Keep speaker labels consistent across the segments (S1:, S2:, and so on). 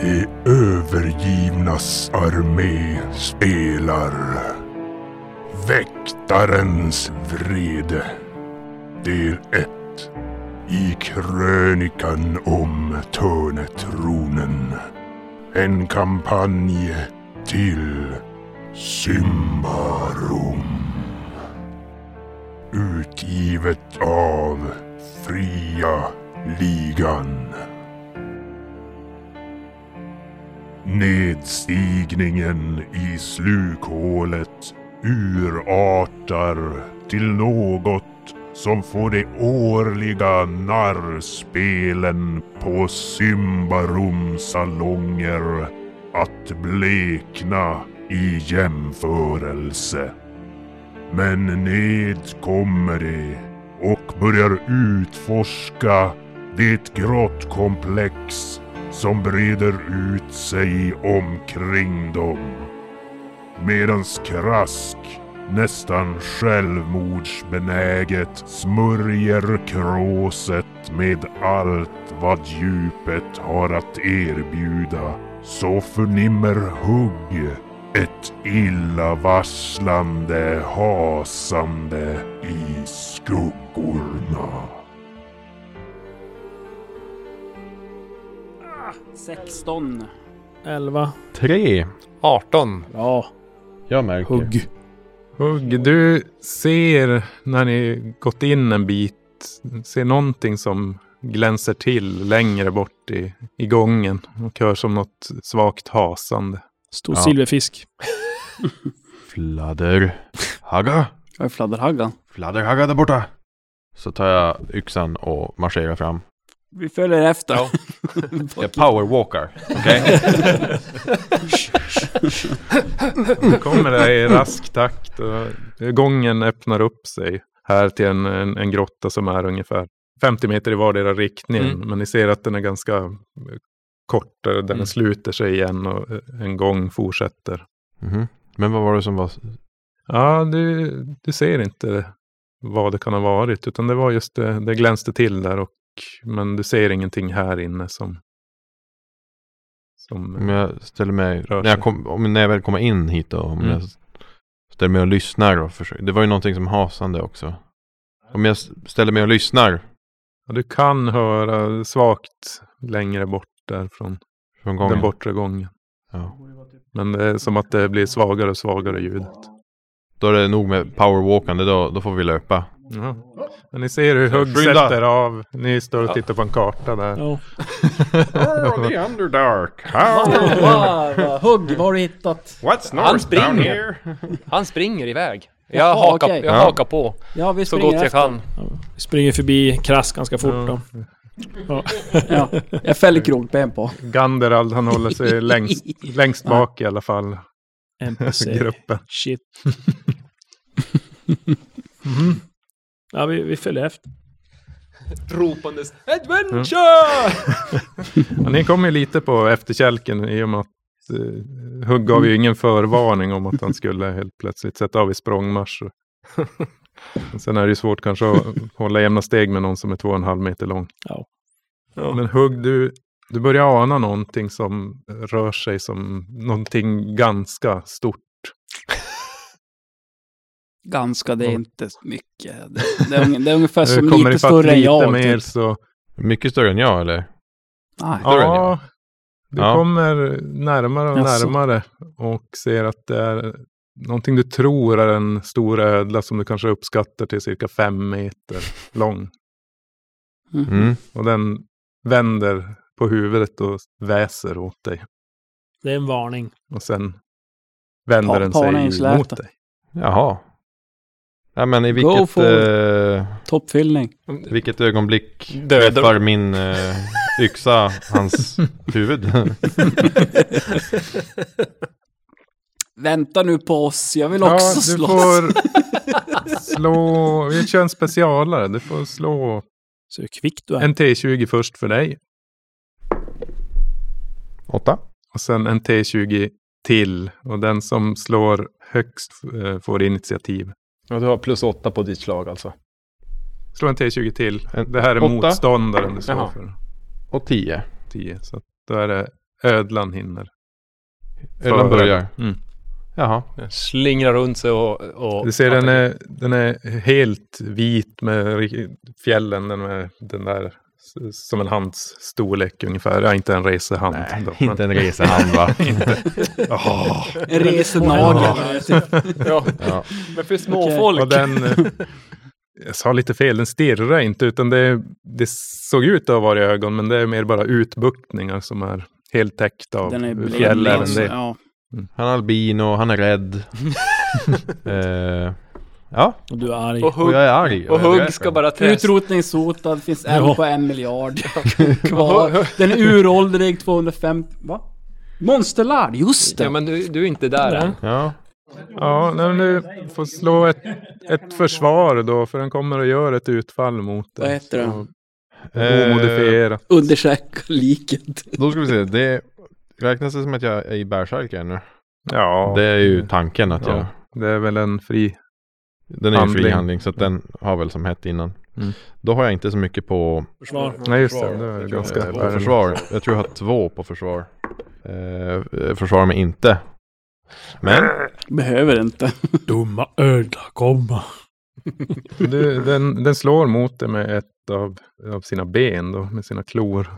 S1: De övergivnas armé spelar Väktarens vrede Del 1 I krönikan om Törnetronen En kampanj till Symbarum Utgivet av Fria Ligan Nedstigningen i slukhålet urartar till något som får de årliga narrspelen på Symbarumsalonger att blekna i jämförelse. Men ned kommer de och börjar utforska det grottkomplex som breder ut sig omkring dem. Medans Krask nästan självmordsbenäget smörjer kråset med allt vad djupet har att erbjuda så förnimmer Hugg ett illavarslande hasande i skuggorna.
S2: 16.
S3: 11.
S4: 3.
S5: 18.
S3: Ja,
S4: Jag märker.
S3: hugg.
S5: Hugg, du ser när ni gått in en bit, ser någonting som glänser till längre bort i, i gången och hör som något svagt hasande.
S3: Stor
S4: Ja.
S3: silverfisk.
S4: Fladder. Hagga.
S2: Jag är fladderhaggan.
S4: Fladderhagga där borta. Så tar jag yxan och marscherar fram.
S2: Vi följer efter.
S4: Ja. Jag powerwalkar. Okej?
S5: Det kommer där i rask takt och gången öppnar upp sig här till en, en, en grotta som är ungefär 50 meter i vardera riktningen.
S4: Mm.
S5: Men ni ser att den är ganska eh, kort, eh, den
S4: Mm.
S5: sluter sig igen och eh, en gång fortsätter.
S4: Mhm. Men vad var det som var...
S5: Ja, du, du ser inte vad det kan ha varit, utan det var just det, det glänste till där, och, men du ser ingenting här inne som... som
S4: Om jag ställer mig...
S5: Rör
S4: När jag,
S5: sig.
S4: kom, om, när jag väl kommer in hit då. Om
S5: Mm.
S4: jag ställer mig och lyssnar och försöker. Det var ju någonting som hasande också. Om jag s- ställer mig och lyssnar
S5: ja, du kan höra svagt längre bort där från
S4: från gången.
S5: den bortre gången.
S4: Ja.
S5: Men det är som att det blir svagare och svagare ljudet.
S4: Då är det nog med powerwalkande. Då, då får vi löpa.
S5: Ja. Men ni ser hur Hugg
S4: Skynda!
S5: sätter av. Ni står och tittar på en karta där.
S3: Ja.
S4: Oh, the underdark.
S6: Hugg, vad har du hittat?
S4: What's
S7: Han springer. down Han springer iväg. Jag,
S6: Jaha,
S7: hakar,
S6: okej.
S7: jag
S4: Ja.
S7: hakar på
S6: Ja, vi
S7: så
S6: springer
S7: gott jag
S6: efter.
S7: kan.
S3: Vi springer förbi Krass ganska fort då.
S6: Ja, jag fäller krokben på.
S5: Ganderald, han håller sig längst, längst bak i alla fall.
S3: NPC.
S5: Gruppen.
S3: Shit. Ja, vi, vi följer efter.
S7: Ropandes adventure!
S5: Ja, ni kom ju lite på efterkälken i och med att eh, Hugg gav ju
S2: Mm.
S5: ingen förvarning om att han skulle helt plötsligt sätta av i språngmarsch. Sen är det ju svårt kanske att hålla jämna steg med någon som är två och en halv meter lång.
S3: Ja.
S5: Men Hugg, du, du börjar ana någonting som rör sig som någonting ganska stort.
S2: Ganska, det är inte mycket. Det, det, är, unge- det är ungefär som
S5: Kommer
S2: lite
S5: ifatt
S2: större än jag.
S5: lite mer
S2: typ.
S5: så
S4: Mycket större än jag eller?
S2: Nej.
S4: Större än jag.
S5: du
S4: Ja.
S5: kommer närmare och
S2: Jaså.
S5: närmare och ser att det är någonting du tror är en stor ödla som du kanske uppskattar till cirka fem meter lång.
S2: Mhm.
S4: Mm.
S5: Och den vänder på huvudet och väser åt dig.
S3: Det är en varning.
S5: Och sen vänder
S2: Pa-
S5: den
S2: parningen
S5: sig
S2: slätar.
S5: ju mot dig.
S4: Jaha. Ja, men i
S2: Go
S4: vilket,
S2: for
S4: eh,
S2: Toppfyllning.
S4: vilket ögonblick
S7: Dödar.
S4: träffar min eh, yxa hans huvud?
S2: Vänta nu på oss, jag vill också
S5: du
S2: slåss.
S5: får slå... Vi kör en specialare. Du får slå
S3: Så hur kvick du är.
S5: en T20 först för dig.
S4: Åtta.
S5: Och sen en T20 till. Och den som slår högst eh, får initiativ.
S8: Ja, du har plus åtta på ditt slag alltså.
S5: Slå en T20 till. Eh,
S4: En-
S5: Det här är
S4: åtta.
S5: motståndaren du slår
S8: Jaha.
S5: för.
S4: Och tio.
S5: 10. Så att då är det ödlan hinner.
S4: Ölen börjar.
S5: Mm.
S4: Jaha.
S7: Slingrar runt sig och... och
S5: Du ser den är, den är helt vit med ri- fjällen. Den, är, den där s- som en hands storlek ungefär. Ja, inte en resehand.
S4: Nej,
S5: då,
S4: inte
S5: men-
S4: en resehand va?
S5: Åh,
S2: En resenagel.
S7: Ja,
S4: ja.
S7: men för småfolk.
S5: och den, eh, jag sa lite fel, den stirrar inte. Utan det, det såg ut att ha varit ögon. Men det är mer bara utbuktningar som är helt täckta av
S2: Den är blind.
S5: fjällen.
S2: alltså.
S5: Det,
S2: Ja.
S4: Han är albino, han är rädd. eh, ja,
S3: Och du är arg.
S7: Och
S4: och
S7: hugg,
S4: jag är arg.
S7: och
S4: Jag är
S7: hugg
S4: rädd.
S7: ska bara träska.
S6: Utrotningshotad, finns en
S3: Ja.
S6: på en miljard kvar. Den är uråldrig, 250... Va? Monsterlard, just det!
S7: Ja, men du, du är inte där än.
S4: Ja,
S5: ja, nej, men du får slå ett, ett försvar då. För den kommer att göra ett utfall mot dig.
S6: Vad heter den?
S5: Så-
S4: Eh,
S5: Omodifierat.
S6: Undersöka liket.
S4: då ska vi se. Det räknas det som att jag är i bärsärka nu?
S5: Ja,
S4: Det är ju tanken att
S5: Ja.
S4: jag...
S5: det är väl en fri
S4: Den är ju fri
S5: Handling.
S4: handling så att den har väl som hett innan.
S5: Mm.
S4: Då har jag inte så mycket på
S3: Försvar.
S5: Nej just det, det är ganska
S4: Eh, på försvar. Jag tror jag har två på försvar. Eh, försvar mig inte. Men
S2: Behöver inte.
S3: Dumma ödla, komma.
S5: Du, den, den slår mot dig med ett av, av sina ben då, med sina klor.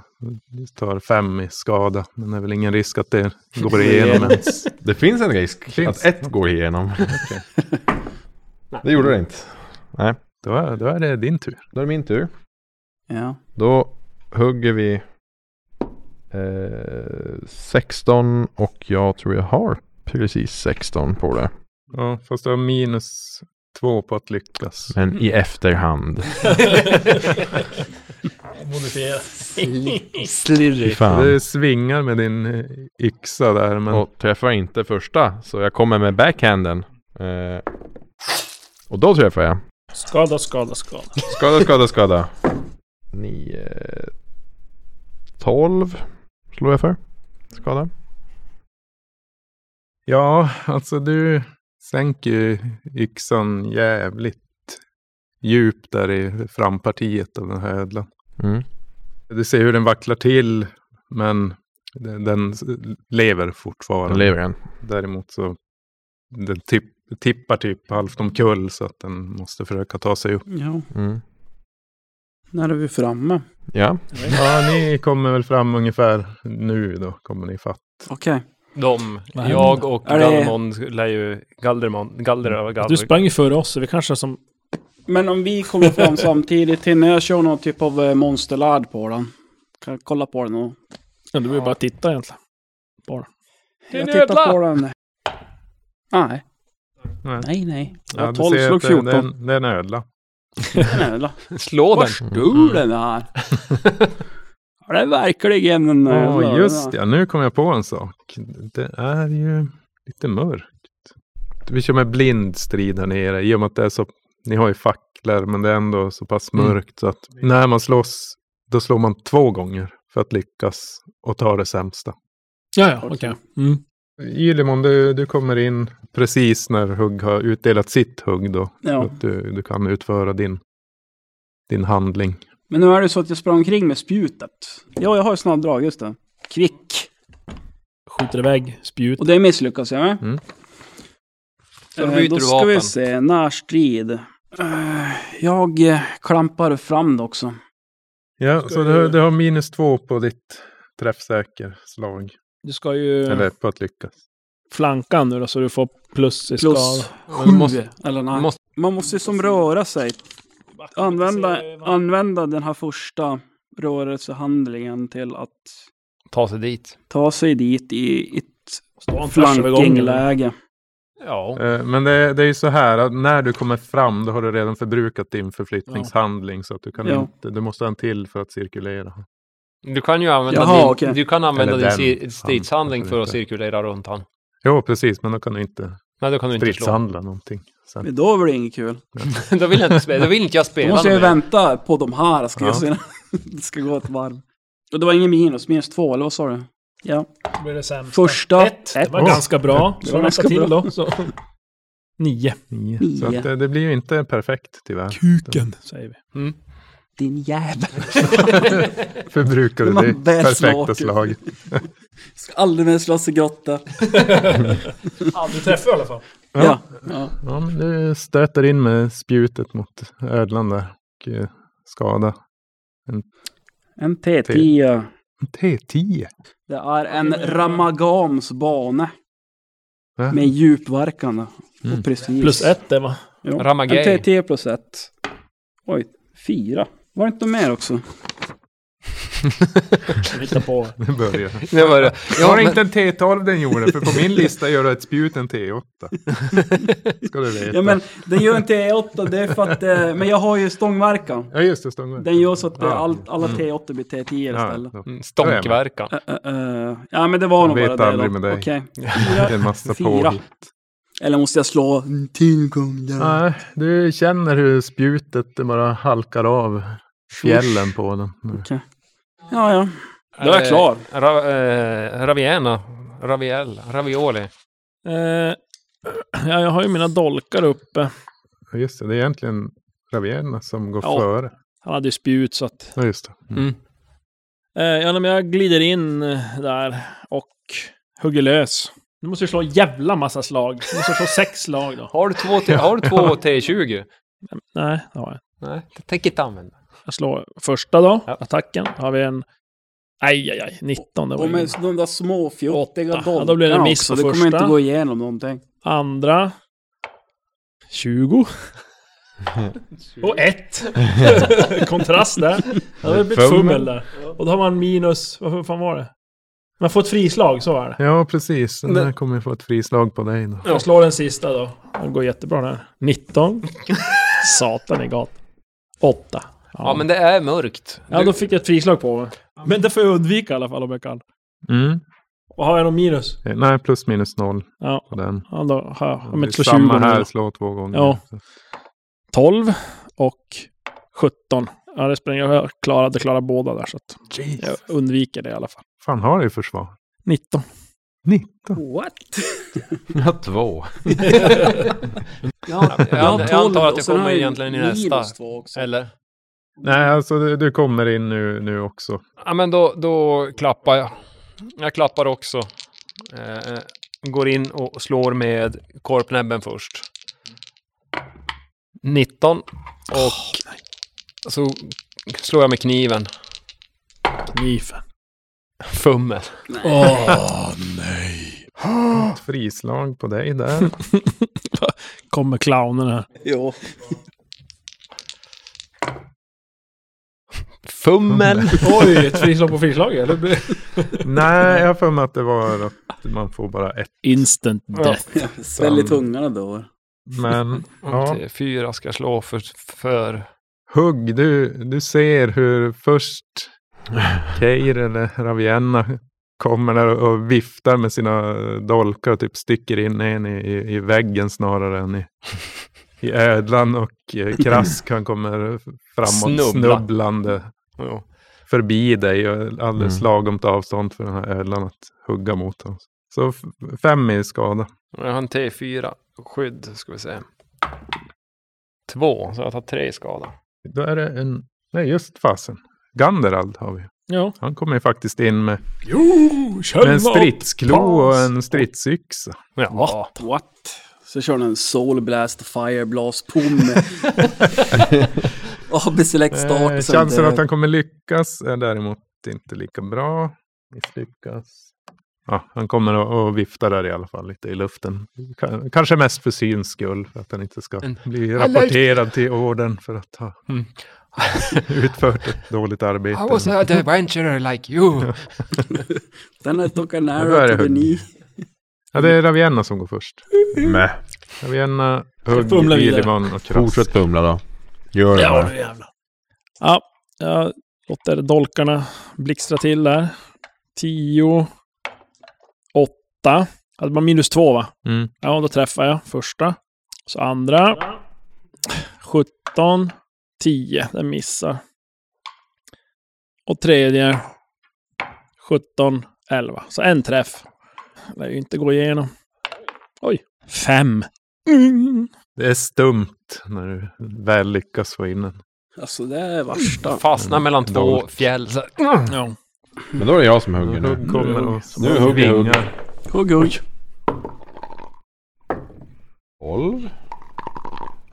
S5: Du tar fem i skada, men det är väl ingen risk att det går igenom ens.
S4: det finns en risk
S5: Finns.
S4: att ett går igenom. det gjorde det inte.
S5: Då är, då är det din tur.
S4: Då är det min tur.
S2: Ja.
S4: Då hugger vi eh, 16 och jag tror jag har precis 16 på det.
S5: Ja, fast du har minus två på att lyckas.
S4: Men i efterhand.
S3: Modifiera.
S4: Fy
S7: Slirry.
S4: Fan.
S5: Du svingar med din eh, yxa där, men
S4: Och träffar inte första så jag kommer med backhanden. Eh, och då träffar jag.
S3: Skada, skada, skada.
S4: Skada, skada, skada. 9... 12 slår jag för. Skada.
S5: ja, alltså du sänker ju yxan jävligt djupt där i frampartiet av den här ödlan.
S4: Mm.
S5: Du ser hur den vacklar till, men den, den lever fortfarande.
S4: Den lever än.
S5: Däremot så den tipp, tippar typ halvt omkull så att den måste försöka ta sig upp.
S2: ja.
S4: Mm.
S2: När är vi framme?
S4: Ja.
S5: Ja, ni kommer väl fram ungefär nu då, kommer ni fatt.
S2: Okej.
S7: De,
S3: Vad händer?
S7: jag och
S2: Är det-
S7: Galdermon lär ju... Galdermon,
S5: Mm.
S7: Galder,
S3: Du
S7: Galder.
S3: sprang ju före oss, så vi kanske är som...
S2: Men om vi kommer fram samtidigt hinner jag köra någon typ av eh, monsterlard på den. Kan jag kolla på den och...
S3: Ja, du vill bara titta egentligen.
S7: Det är
S2: Jag
S7: en
S2: tittar
S7: ödla!
S2: på den. Nej.
S5: Nej.
S2: Nej, nej.
S5: Ja,
S2: Ja,
S5: du
S2: 12
S5: ser
S2: slog
S5: att det-
S2: 14.
S5: Det är en- det är en ödla.
S2: En ödla.
S7: Slå den! Mm.
S2: Stor den här. Ja, Det är verkligen en
S5: Ja,
S2: ödla.
S5: just ja. Nu kom jag på en sak. Det är ju lite mörkt. Vi kör med blind strid här nere i och med att det är så... Ni har ju facklor men det är ändå så pass
S4: Mm.
S5: mörkt så att när man slåss då slår man två gånger för att lyckas och ta det sämsta.
S3: Ja, ja, okej. Mm.
S5: Ylimon, du, du kommer in precis när Hugg har utdelat sitt hugg då. Så
S2: Ja.
S5: att du, du kan utföra din, din handling.
S2: Men nu är det så att jag sprang omkring med spjutet. Ja, jag har ju snabbdrag, just det. Kvick.
S3: Skjuter iväg spjut.
S2: Och det misslyckas jag med.
S5: Mm.
S7: Så då byter
S2: Eh, då
S7: du
S2: ska
S7: vapen.
S2: vi se, närstrid. Eh, jag eh, klampar fram det också.
S5: Ja, så du, du har minus två på ditt träffsäker slag.
S3: Du ska ju
S5: Eller på att lyckas.
S3: flanka nu då, så du får plus i
S2: Plus
S3: skada.
S2: sju, eller nej.
S7: måste-
S2: Man måste ju som röra sig. Använda, använda den här första rörelsehandlingen till att
S7: Ta sig dit.
S2: ta sig dit i ett
S3: Stå en flanking eller?
S2: flankingläge.
S7: Ja.
S5: Eh, Men det, det är ju så här att när du kommer fram då har du redan förbrukat din förflyttningshandling. Så att du, kan
S2: Ja.
S5: inte, du måste ha en till för att cirkulera.
S7: Du kan ju använda
S2: Jaha,
S7: din,
S2: okej.
S7: du kan använda
S5: Eller
S7: din
S5: den.
S7: cir- stridshandling
S5: Han-
S7: för att
S5: inte.
S7: cirkulera runt han.
S5: Jo, precis. Men då kan du inte
S7: Nej, då kan du inte slå.
S5: stridshandla någonting. Sen.
S2: Men då blir det inget kul.
S7: då, vill jag inte spela, då vill inte jag
S2: Då
S7: spela.
S2: måste jag ju
S7: med.
S2: vänta på de här, ska
S5: Ja.
S2: jag se. Det ska gå ett varv. Och det var ingen minus, minus två, eller vad sa du? Ja.
S3: Då blir det sämsta.
S2: Första.
S3: Ett. Det var
S5: Åh.
S3: ganska bra.
S2: Det
S3: Så
S2: var
S3: nästa
S2: ganska
S3: till
S2: bra.
S3: då. Så. Nio.
S5: Så att det, det blir ju inte perfekt tyvärr.
S3: Kuken, säger vi.
S6: Din jävel.
S5: Förbrukade
S6: Man
S5: det
S6: bär
S5: perfekta
S6: slaget.
S5: slaget.
S6: Ska aldrig mer slåss i grotta.
S3: Aldrig träffar i alla fall.
S5: Ja.
S6: Ja. ja.
S5: Ja, men du stöter in med spjutet mot ödlan där och eh, skada.
S2: En T10.
S5: T10.
S2: Det är en Ramagams bane.
S5: Va?
S2: Med djupverkan. Och precis.
S3: Plus ett det va?
S2: Jo.
S7: Ramagay.
S2: En T10 plus ett. Oj, fyra. Var det inte mer också?
S3: Som hittar på.
S5: Det börjar.
S7: Det var det.
S5: Jag
S7: Ja,
S5: har
S7: men,
S5: inte en T12 den gjorde, för på min lista gör du ett spjut en T8. Ska du veta.
S2: Ja men den gör inte E8, det är för att... eh, Men jag har ju stångverkan.
S5: Ja, just det, stångverkan.
S2: Den gör så att det,
S5: Ja. Mm.
S2: all, alla T8 blir T10 istället.
S5: Ja,
S7: mm, stånkverkan.
S2: Eh, eh, eh. Ja men det var nog
S5: vet
S2: bara det
S5: aldrig
S2: då.
S5: med dig.
S2: Okej.
S5: det är en massa
S2: Fyra.
S5: påhitt.
S2: Eller måste jag slå en till gång där?
S5: Nej, du känner hur spjutet det bara halkar av fjällen på den.
S2: Ja, ja.
S7: Då är jag klar. Eh, Ra, eh, Raviena. Raviel. Ravioli.
S3: Eh, ja, jag har ju mina dolkar uppe.
S5: Ja, Just det, det är egentligen Ravierna som går
S3: Ja.
S5: före.
S3: Han hade ju spjut så att...
S5: Ja, just det.
S3: Eh, ja, nej, men jag glider in eh, där och hugger lös. Nu måste jag slå en jävla massa slag. Nu måste jag slå sex slag då.
S7: Har du två, T- har du två T20?
S3: Nej, det har jag.
S7: Nej, det tänker inte använda.
S3: Jag slår första då,
S7: Ja.
S3: attacken. Då har vi en... Aj, aj, aj. 19. Det var
S2: Och
S3: ju...
S2: med de där små fjuttiga
S3: Åtta. Ja, då blir det miss
S2: också.
S3: på
S2: Det kommer inte
S3: första.
S2: gå igenom någonting.
S3: Andra. 20. Och ett. Kontrast där. Ja, det blir ett
S4: Fummel.
S3: fummel där. Och då har man minus... Vad fan var det? Man får ett frislag, så är det.
S5: Ja, precis. Den här kommer få ett frislag på dig då.
S3: Jag slår den sista då. Den går jättebra den här. 19. Satan i gat. 8. Ja.
S7: Ja, men det är mörkt.
S3: ja, då fick jag ett frislag på mig. Men det får jag undvika i alla fall om jag kan.
S5: Mm.
S3: Och har jag någon minus?
S5: Eh, Nej, plus minus noll
S3: Ja,
S5: på den.
S3: ja då har jag. Om
S5: Det är
S3: jag inte slår 20
S5: samma här,
S3: nu.
S5: slå två gånger.
S3: Ja. 12 och 17. Ja, det spränger jag. Jag klarade, klarade båda där, så att jag undviker det i alla fall.
S5: fan har du försvar?
S3: 19.
S5: 19.
S2: What?
S4: Jag har två.
S2: Ja,
S7: jag
S2: har
S7: antar att
S2: 12
S7: jag
S2: och sen
S7: kommer
S2: har jag
S7: egentligen i
S2: minus
S7: nästa.
S2: två också.
S7: Eller?
S5: Nej, alltså du, du kommer in nu, nu också.
S7: Ja, men då, då klappar jag. Jag klappar också. Eh, går in och slår med korpnäbben först. 19. Och så slår jag med kniven.
S3: Kniven.
S7: Fummel.
S5: Ett frislag på dig där.
S3: Kommer clownen här.
S2: Jo.
S7: Fummel!
S3: Oj, ett frislag på frislag eller?
S5: Nej, jag har för mig att det var att man får bara ett.
S3: Instant death.
S2: Svälj i tungan då.
S5: Men ja.
S7: Till Fyra ska jag slå för... för
S5: Hugg, du, du ser hur först Keir eller Ravienna kommer där och viftar med sina dolkar och typ sticker in en i, i, i väggen snarare än i, i ödlan. Och eh, Krask han kommer framåt
S7: Snubbla.
S5: snubblande
S7: ja.
S5: förbi dig och alldeles
S4: Mm.
S5: lagomt avstånd för den här ödlan att hugga mot honom. Så f- fem i skada.
S7: Jag har en T4. Skydd, ska vi se. Två, så jag tar tre i skada.
S5: Då är det en... Nej, just fasen. Ganderald har vi.
S3: Ja.
S5: Han kommer ju faktiskt in med
S3: Jo,
S5: Med en stridsklo och en stridsyxa.
S7: Ja.
S2: What? Så kör den en soul blast, fire blast, pomme. ABC-select start.
S5: Eh,
S2: och sen
S5: chansen
S2: det-
S5: att han kommer lyckas är däremot inte lika bra. Misslyckas. Ja, han kommer att- att vifta där i alla fall lite i luften. Ka- Kanske mest för syns skull, för att han inte ska
S7: En-
S5: bli rapporterad till orden för att ha
S7: Mm.
S5: utfört ett dåligt arbete.
S7: a adventurer like you.
S2: Then I took an
S5: Ja, då är
S2: arrow
S5: det
S2: to the
S5: hugg.
S2: knee.
S5: Ja, det är Ravienna som går först.
S4: Mäh.
S5: Ravienna,
S3: Jag
S5: Hugg,
S3: fumlar vidare.
S5: Illivan och Krask.
S4: Fortsätt fumla då. Gör det
S3: Ja,
S4: bara.
S3: nu jävlar. Ja, jag låter dolkarna blixtra till där. 10. 8. Hade man minus 2 va?
S5: Mm.
S3: Ja, då träffar jag första. Så andra. 17. 10. Den missar. Och tredje. 17. 11. Så en träff. Det lär ju inte gå igenom. Oj. Fem. Mm.
S5: Det är stumt när du väl lyckas få in en.
S2: Alltså det är värsta.
S7: Fastnar mellan två
S5: Dåligt.
S7: fjäll. Så,
S3: Ja.
S4: Men då är det jag som hugger nu.
S5: Hugg kommer och
S4: Nu hugger hugg.
S5: vingar.
S2: Hugg, hugg.
S4: 12.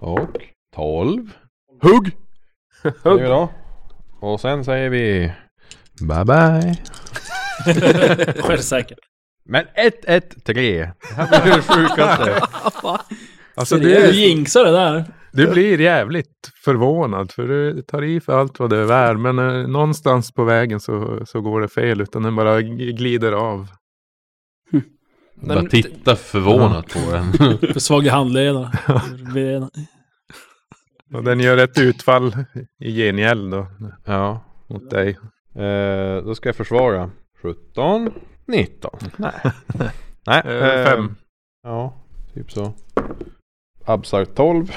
S4: Och 12. Hugg! Hugg! Då. Och sen säger vi... Bye bye.
S3: Självsäker.
S4: Men 1-1-3. Det här blir det sjukaste.
S5: Alltså
S3: Du
S5: du,
S3: jinxar det där.
S5: du blir jävligt förvånad för du tar i för allt vad det är värd. Men eh, någonstans på vägen så, så går det fel utan den bara g- glider av.
S4: Bara titta förvånat på den.
S3: För svag i handlederna. Benen.
S5: Och den gör ett utfall i gengäld då
S4: Ja.
S5: mot dig.
S4: Eh, då ska jag försvara. 17. 19. Nej. Nej.
S5: Eh,
S4: eh,
S5: fem.
S4: Ja, typ så. Absar 12.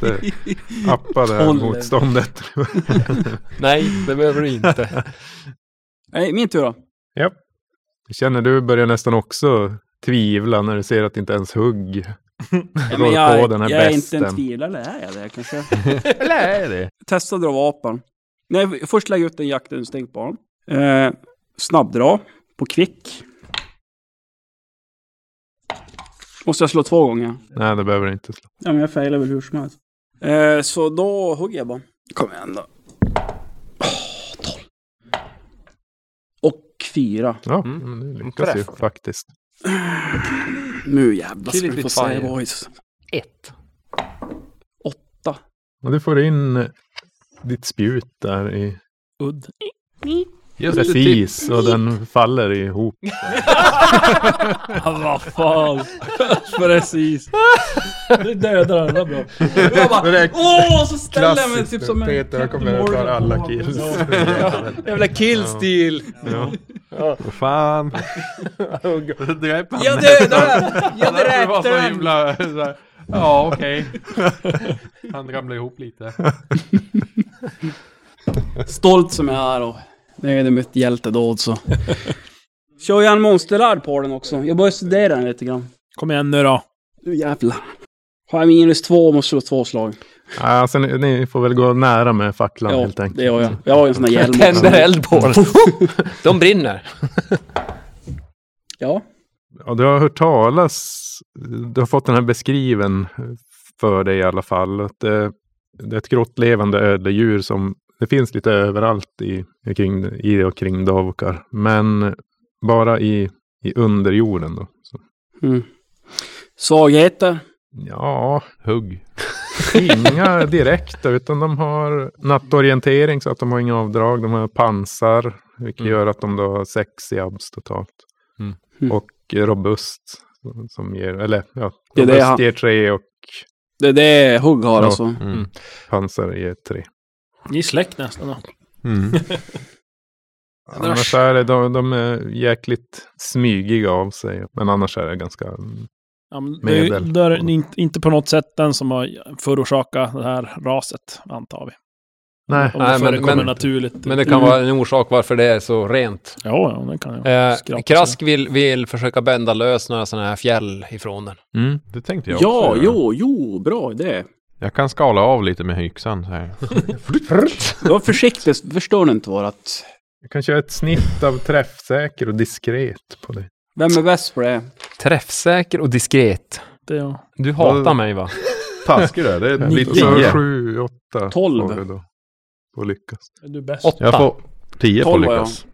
S5: Det appar det här
S2: Tolv.
S5: motståndet.
S7: nej, det behöver du inte.
S2: Nej, min tur då.
S5: Känner du börjar nästan också tvivla när du ser att inte ens hugg
S2: Nej,
S5: går
S2: men
S5: på
S2: jag
S5: den här
S2: jag är inte
S5: besten.
S2: en tvivlare, eller är jag det? Jag kanske
S4: Eller är det?
S2: testa dra av apan. Nej, först lägga ut en jaktinstinkt på honom. Eh, snabbdra på kvick. Måste jag slå två gånger?
S5: Nej, det behöver du inte. slå.
S2: Ja, men jag failar väl hur som helst. Eh, så då hugger jag bara. Kom igen då. Åh, tolv. Och fyra.
S5: Ja, men du lyckas ju faktiskt.
S2: Nu jävlar ska
S7: Kill it
S2: vi få
S7: with
S2: se
S7: fire.
S2: boys.
S7: Ett.
S2: Åtta.
S5: Och du får in eh, ditt spjut där i
S3: Udd.
S4: Just
S2: typ
S5: precis och den faller ihop.
S3: Ja, vad fan. Precis. Du dödar alla bra.
S2: Jag bara, åh, så ställer jag mig
S5: Klassiskt,
S2: typ som en
S5: Peter, jag kommer
S2: Captain
S5: att ta
S2: Morgan
S5: alla
S2: på-
S5: kills.
S7: Jävla killstil!
S5: Ja.
S4: Vad fan. Det där är
S2: Jag dödar den! Jag
S4: Det var
S2: dräpte
S4: så
S2: den!
S4: himla... så här, Ja, okej. Han ramlade ihop lite.
S2: Stolt som jag är och nöjd med mitt hjältedåd så. Kör jag en monsterlard på den också. Jag börjar studera den lite grann.
S3: Kom igen nu då.
S2: Nu jävlar. Har jag minus två måste slå två slag.
S5: Alltså, ni, ni får väl gå nära med facklan
S2: Ja,
S5: helt enkelt.
S2: det gör jag. Jag har ju en sån där hjälm också.
S7: Tänder eld på
S2: Mm.
S7: den. De brinner.
S2: Ja.
S5: Ja, du har hört talas, du har fått den här beskriven för dig i alla fall. Att det, det är ett grottlevande ödledjur som det finns lite överallt i, i, kring, i och kring Dovkar. Men bara i, i underjorden då. Så,
S2: Mm. Svagheter.
S5: ja,
S4: Hugg.
S5: inga direkta utan de har nattorientering så att de har inga avdrag. De har pansar vilket gör att de då har sex i abs totalt.
S4: Mm.
S2: Mm.
S5: Och robust som- som ger, eller ja,
S2: Det är det
S5: robust
S2: han-
S5: ger tre och
S2: Det är det hugg har
S5: Ja.
S2: alltså.
S4: Mm.
S5: pansar ger tre.
S3: Ni är släkt nästan då.
S4: Mm.
S5: Annars är det, de, de är jäkligt smygiga av sig. Men annars är det ganska...
S3: Ja, men det är,
S5: Medel.
S3: ju- då är det inte, inte på något sätt den som har förorsakat det här raset, antar vi.
S5: Nej,
S3: Om det
S7: Nej, men-
S3: förekommer
S7: men-
S3: naturligt.
S7: Men det kan vara en orsak varför det är så rent.
S3: Ja, ja, det kan jag.
S7: Eh,
S3: Skratta.
S7: Krask vill, vill försöka bända lös några sådana här fjäll ifrån den.
S4: Det tänkte jag
S2: Ja,
S4: också göra.
S2: jo, jo, bra idé.
S4: Jag kan skala av lite med hyxan så här.
S2: Var försiktig, förstår ni inte vårat...
S5: jag kan köra ett snitt av träffsäker och diskret på det.
S2: Vem är bäst på det?
S7: Träffsäker och diskret.
S3: Det, ja.
S7: Du hatar mig va?
S4: Taskig du är. Det blir
S5: Och så
S4: 10.
S5: sju, åtta.
S2: Tolv.
S5: får du då. Och lyckas.
S3: Är du bäst?
S7: Åtta.
S4: Jag får 10 på
S2: Tolv har jag.
S4: lyckas.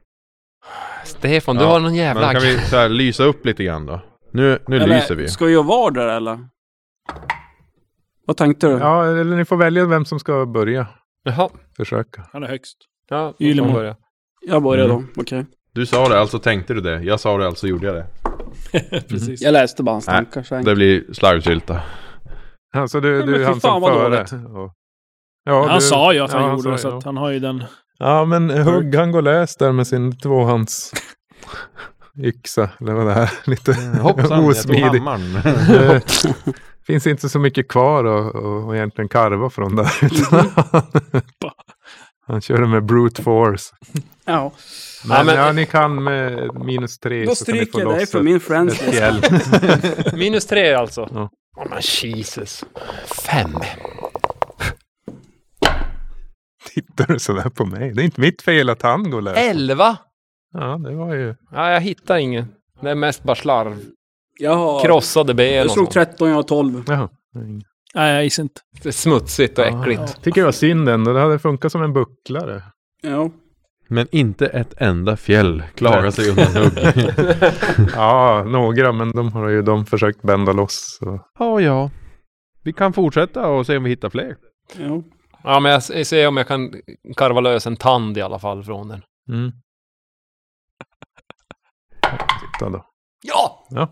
S7: Stefan, du
S4: Ja,
S7: har någon
S4: Men då
S7: jävla...
S4: kan vi så här lysa upp lite grann då. Nu, nu lyser vi.
S2: Ska jag vara där eller? Vad tänkte du?
S5: Ja, eller ni får välja vem som ska börja
S7: Jaha.
S5: försöka.
S3: Han är högst.
S7: Ja,
S3: Ylemo.
S7: får börja.
S2: Jag börjar då,
S4: Mm.
S2: okej.
S4: Du sa det, alltså tänkte du det. Jag sa det, alltså gjorde jag det.
S3: Precis.
S2: Jag läste bara hans
S4: Nej,
S2: tankar. så
S4: Det blir slarvsylta.
S5: Alltså du,
S2: Nej,
S5: du
S2: men
S5: är
S2: fy fan,
S5: han som
S2: vad
S5: före.
S2: dåligt.
S5: Och- Ja,
S3: han
S5: du-
S3: sa ju att han
S5: ja,
S3: gjorde det,
S5: sa
S3: så
S5: ju,
S3: att han har ju den...
S5: Ja, men Hugg han går lös där med sin tvåhands yxa. Eller vad det här är. Lite
S4: Mm, Hoppsan, jag tog
S5: osmidig.
S4: hammaren.
S5: Det Eh, finns inte så mycket kvar att och, och egentligen karva från där. Utan han- han körde med brute force.
S2: Ja.
S5: Men,
S7: Ja,
S5: ja,
S7: men-
S5: ni kan med minus tre
S2: Då
S5: så kan ni få
S2: stryker jag dig
S5: loss
S2: från
S5: ett-
S2: min friends
S5: ett
S2: list.
S5: fjäll.
S7: Minus tre alltså.
S5: Ja.
S7: Ja. men Jesus. Fem.
S5: tittar du sådär på mig? Det är inte mitt fel att han går läs.
S7: Elva?
S5: Ja, det var ju...
S7: Ja, jag hittar ingen. Det är mest bara slarv.
S2: Jag har...
S7: Krossade ben
S2: Jag
S7: och
S2: slog
S7: sånt.
S2: 13, jag har 12.
S5: Jaha. det är inget.
S3: Nej, jag gissar inte.
S7: Det är Smutsigt och äckligt.
S5: Tycker det var synd ändå. Det hade funkat som en bucklare.
S2: Ja.
S4: Men inte ett enda fjäll klarar sig undan hugg.
S5: Ja, några, men de har ju de försökt bända loss. Så.
S4: Ja, ja. Vi kan fortsätta och se om vi hittar fler.
S2: ja.
S7: Ja, men jag s- ser om jag kan karva lös en tand i alla fall från den.
S5: Mm. Titta då.
S7: Ja!
S5: Ja.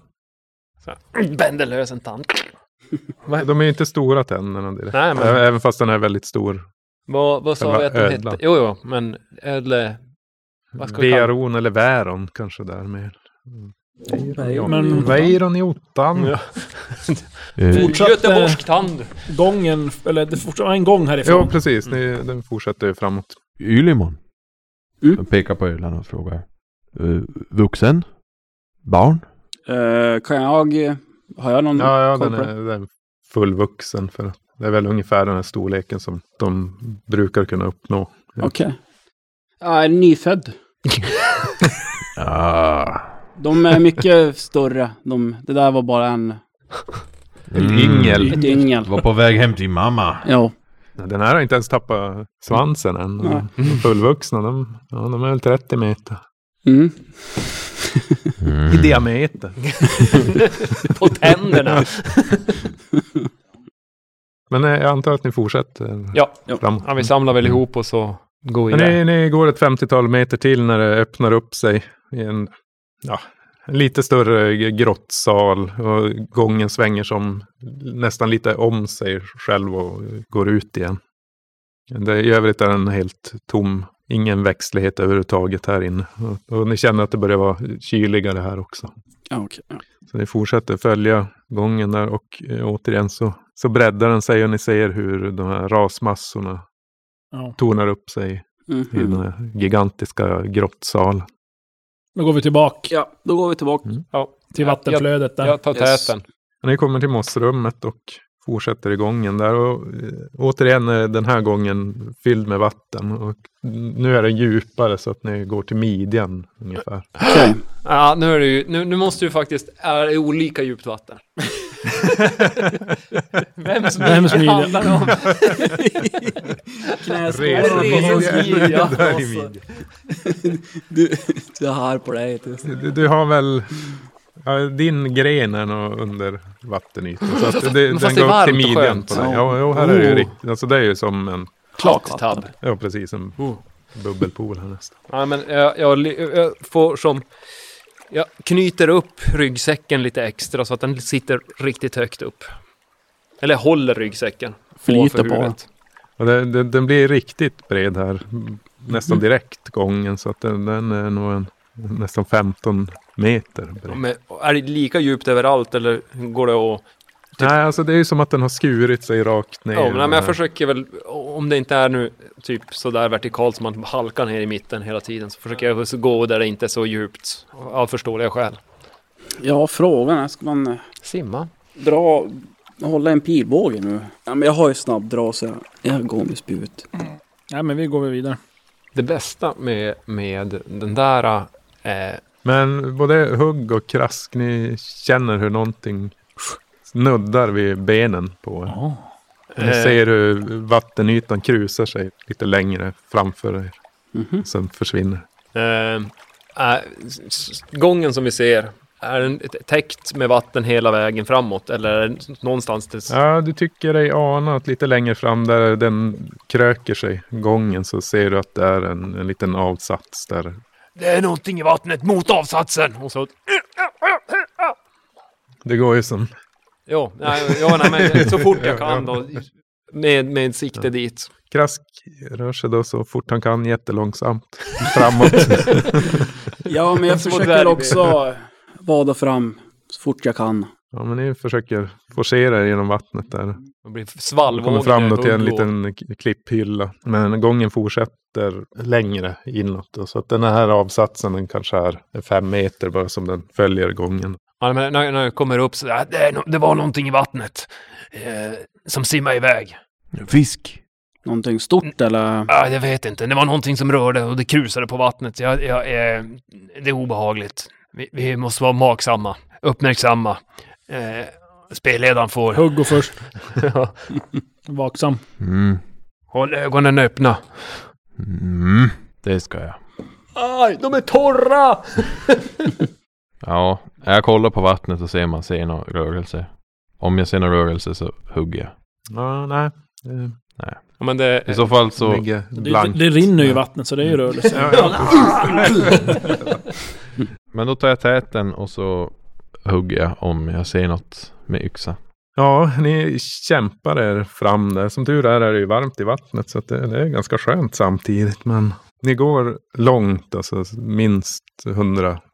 S7: Så här, Bänder lös en tand.
S5: De är ju inte stora tänderna direkt.
S7: Nej, men-
S5: Ä- Även fast den är väldigt stor.
S7: Vad, vad sa
S5: Själva
S7: vi att den
S5: ödlan.
S7: hette? Jo, jo, men ödle... Vad ska vi kalla
S5: Veron eller väron kanske där mer.
S3: Men-
S5: Veiron i ottan.
S7: Mm. Ja.
S4: Eh,
S3: Fortsatt, eh,
S7: Göteborgsk tand.
S3: Gången, eller det fortfarande en gång härifrån.
S5: Ja, precis. Ni, den fortsätter ju framåt.
S4: Ylimon.
S2: Mm.
S4: Jag pekar på Öland och frågar. Eh, vuxen? Barn?
S2: Eh, kan jag... eh, Har jag någon
S5: Ja, ja
S7: Mm.
S2: koll
S5: den,
S2: på
S5: är,
S2: det?
S5: den är fullvuxen. För det är väl ungefär den här storleken som de brukar kunna uppnå.
S2: Okej. Jag är nyfödd.
S4: Ah.
S2: De är mycket större. De, det där var bara en,
S5: En yngel.
S4: Mm.
S2: ett yngel.
S4: Var på väg hem till mamma.
S2: Ja.
S5: Den här har inte ens tappat svansen än.
S2: Nej.
S5: De fullvuxna, de, ja, de är väl 30 meter.
S2: Mm.
S4: Mm.
S5: I diameter.
S7: På tänderna.
S5: Men eh, jag antar att ni fortsätter
S7: Ja.
S5: framåt.
S7: ja, vi samlar väl ihop och så går vi
S5: Men
S7: vidare.
S5: ni, ni går ett 50-tal meter till när det öppnar upp sig i en, ja, en lite större g- grottsal. Och gången svänger som nästan lite om sig själv och går ut igen. Det, I övrigt är den helt tom. Ingen växtlighet överhuvudtaget här inne. Och, och ni känner att det börjar vara kyligare här också.
S2: Ja, okej.
S5: Så ni fortsätter följa gången där och eh, återigen så, så breddar den sig och ni ser hur de här rasmassorna
S3: Ja.
S5: tornar upp sig i
S2: Mhm.
S5: den här gigantiska grottsalen.
S3: Då går vi tillbaka Mm.
S2: Ja, då går vi tillbaka.
S3: till vattenflödet där.
S7: Jag tar
S2: Yes.
S7: täten.
S5: Ni kommer till mossrummet och fortsätter i gången där. Och, eh, återigen är den här gången fylld med vatten. Och nu är den djupare så att ni går till midjan ungefär.
S2: Okej.
S7: Ja, nu, är det ju, nu, nu måste du faktiskt... Är det olika djupt vatten? Vems
S3: Vems midja?
S7: midja handlar det om?
S5: Resans midja.
S7: midja.
S5: Där i midjan.
S2: Du, du alltså, har på dig. tills-
S5: Du, du har väl... Ja, din gren är nog under vattenytan. Så att det, den
S7: fast det är
S5: går upp till
S7: varmt och
S5: midjan
S7: skönt. Oh.
S5: på dig. Ja, jo, här är det ju riktigt. Alltså det är ju som en...
S7: Klart tabb.
S5: Ja, precis. En
S7: Oh.
S5: bubbelpool här nästan.
S7: Ja, men jag, jag, jag får som... Jag knyter upp ryggsäcken lite extra så att den sitter riktigt högt upp. Eller jag håller ryggsäcken.
S2: Förlita
S7: ovanför
S2: på den.
S7: huvudet.
S5: Och det, det, den blir riktigt bred här.
S7: Mm.
S5: Nästan direkt gången. Så att den, den är nog en, nästan 15 meter bred.
S7: Men är det lika djupt överallt eller går det att...
S5: Nej, alltså det är ju som att den har skurit sig rakt ner.
S7: typ- Ja, men, nej, men jag
S5: här.
S7: försöker väl, om det inte är nu typ sådär vertikalt som man halkar ner i mitten hela tiden, så försöker jag så gå där det inte är så djupt. Av förståeliga skäl.
S2: Ja, frågan är, ska man eh,
S7: Simma.
S2: dra, hålla en pilbåge nu? Ja, men jag har ju snabbdra så jag, jag går med spjut.
S3: Nej, men vi går väl vidare.
S7: Det bästa med, med den där... Eh,
S5: Men både hugg och krask, ni känner hur någonting snuddar vid benen på er. Ni
S7: Eh.
S5: ser hur vattenytan krusar sig lite längre framför er.
S2: Mhm.
S5: Sen försvinner.
S7: Eh, eh, s- s- gången som vi ser, är den t- täckt med vatten hela vägen framåt eller är den någonstans tills...
S5: Ja, du tycker dig ana att lite längre fram där den kröker sig, gången, så ser du att det är en, en liten avsats där.
S7: Det är någonting i vattnet mot avsatsen! Och så...
S5: Det går ju som...
S7: Jo, nej, jo, nej, men så fort jag kan då. Med, med sikte dit.
S5: Krask rör sig då så fort han kan, jättelångsamt framåt.
S2: Ja, men jag
S7: Små
S2: försöker
S7: dvärgben.
S2: också vada fram så fort jag kan.
S5: Ja, men ni försöker forcera er genom vattnet där.
S7: Det blir
S5: Vi kommer
S7: svallvågor.
S5: fram då till en
S7: ugglor.
S5: liten k- klipphylla. Men gången fortsätter längre inåt. Då, så att den här avsatsen den kanske är fem meter bara som den följer gången.
S7: Ja, men när, när jag kommer upp så... "Ah, "Ja, Det, är no- det var någonting i vattnet. Eh, som simmade iväg.
S4: Fisk.
S2: Någonting stort eller?
S7: Ah, jag vet inte. Det var någonting som rörde och det krusade på vattnet. Jag, jag, eh, det är obehagligt. Vi, vi måste vara magsamma, uppmärksamma. Eh, spelledaren får
S3: Hugg går först. Vaksam.
S4: Mm.
S7: håll ögonen öppna.
S4: Mm. Det ska jag.
S7: Aj, de är torra!
S4: Ja, jag kollar på vattnet och ser om man ser någon rörelse. Om jag ser någon rörelse så hugger jag.
S5: Ja, nej. Eh,
S7: Ja, men det...
S4: I så fall så...
S5: ligger
S3: Det, det,
S5: blank.
S3: det rinner ju i vattnet så det är
S5: Mm.
S3: ju rörelse.
S5: Ja, ja.
S4: Men då tar jag täten och så hugger jag om jag ser något med yxa.
S5: ja, ni kämpar er fram där. Som tur är är det ju varmt i vattnet så att det, det är ganska skönt samtidigt. Men ni går långt, alltså minst 150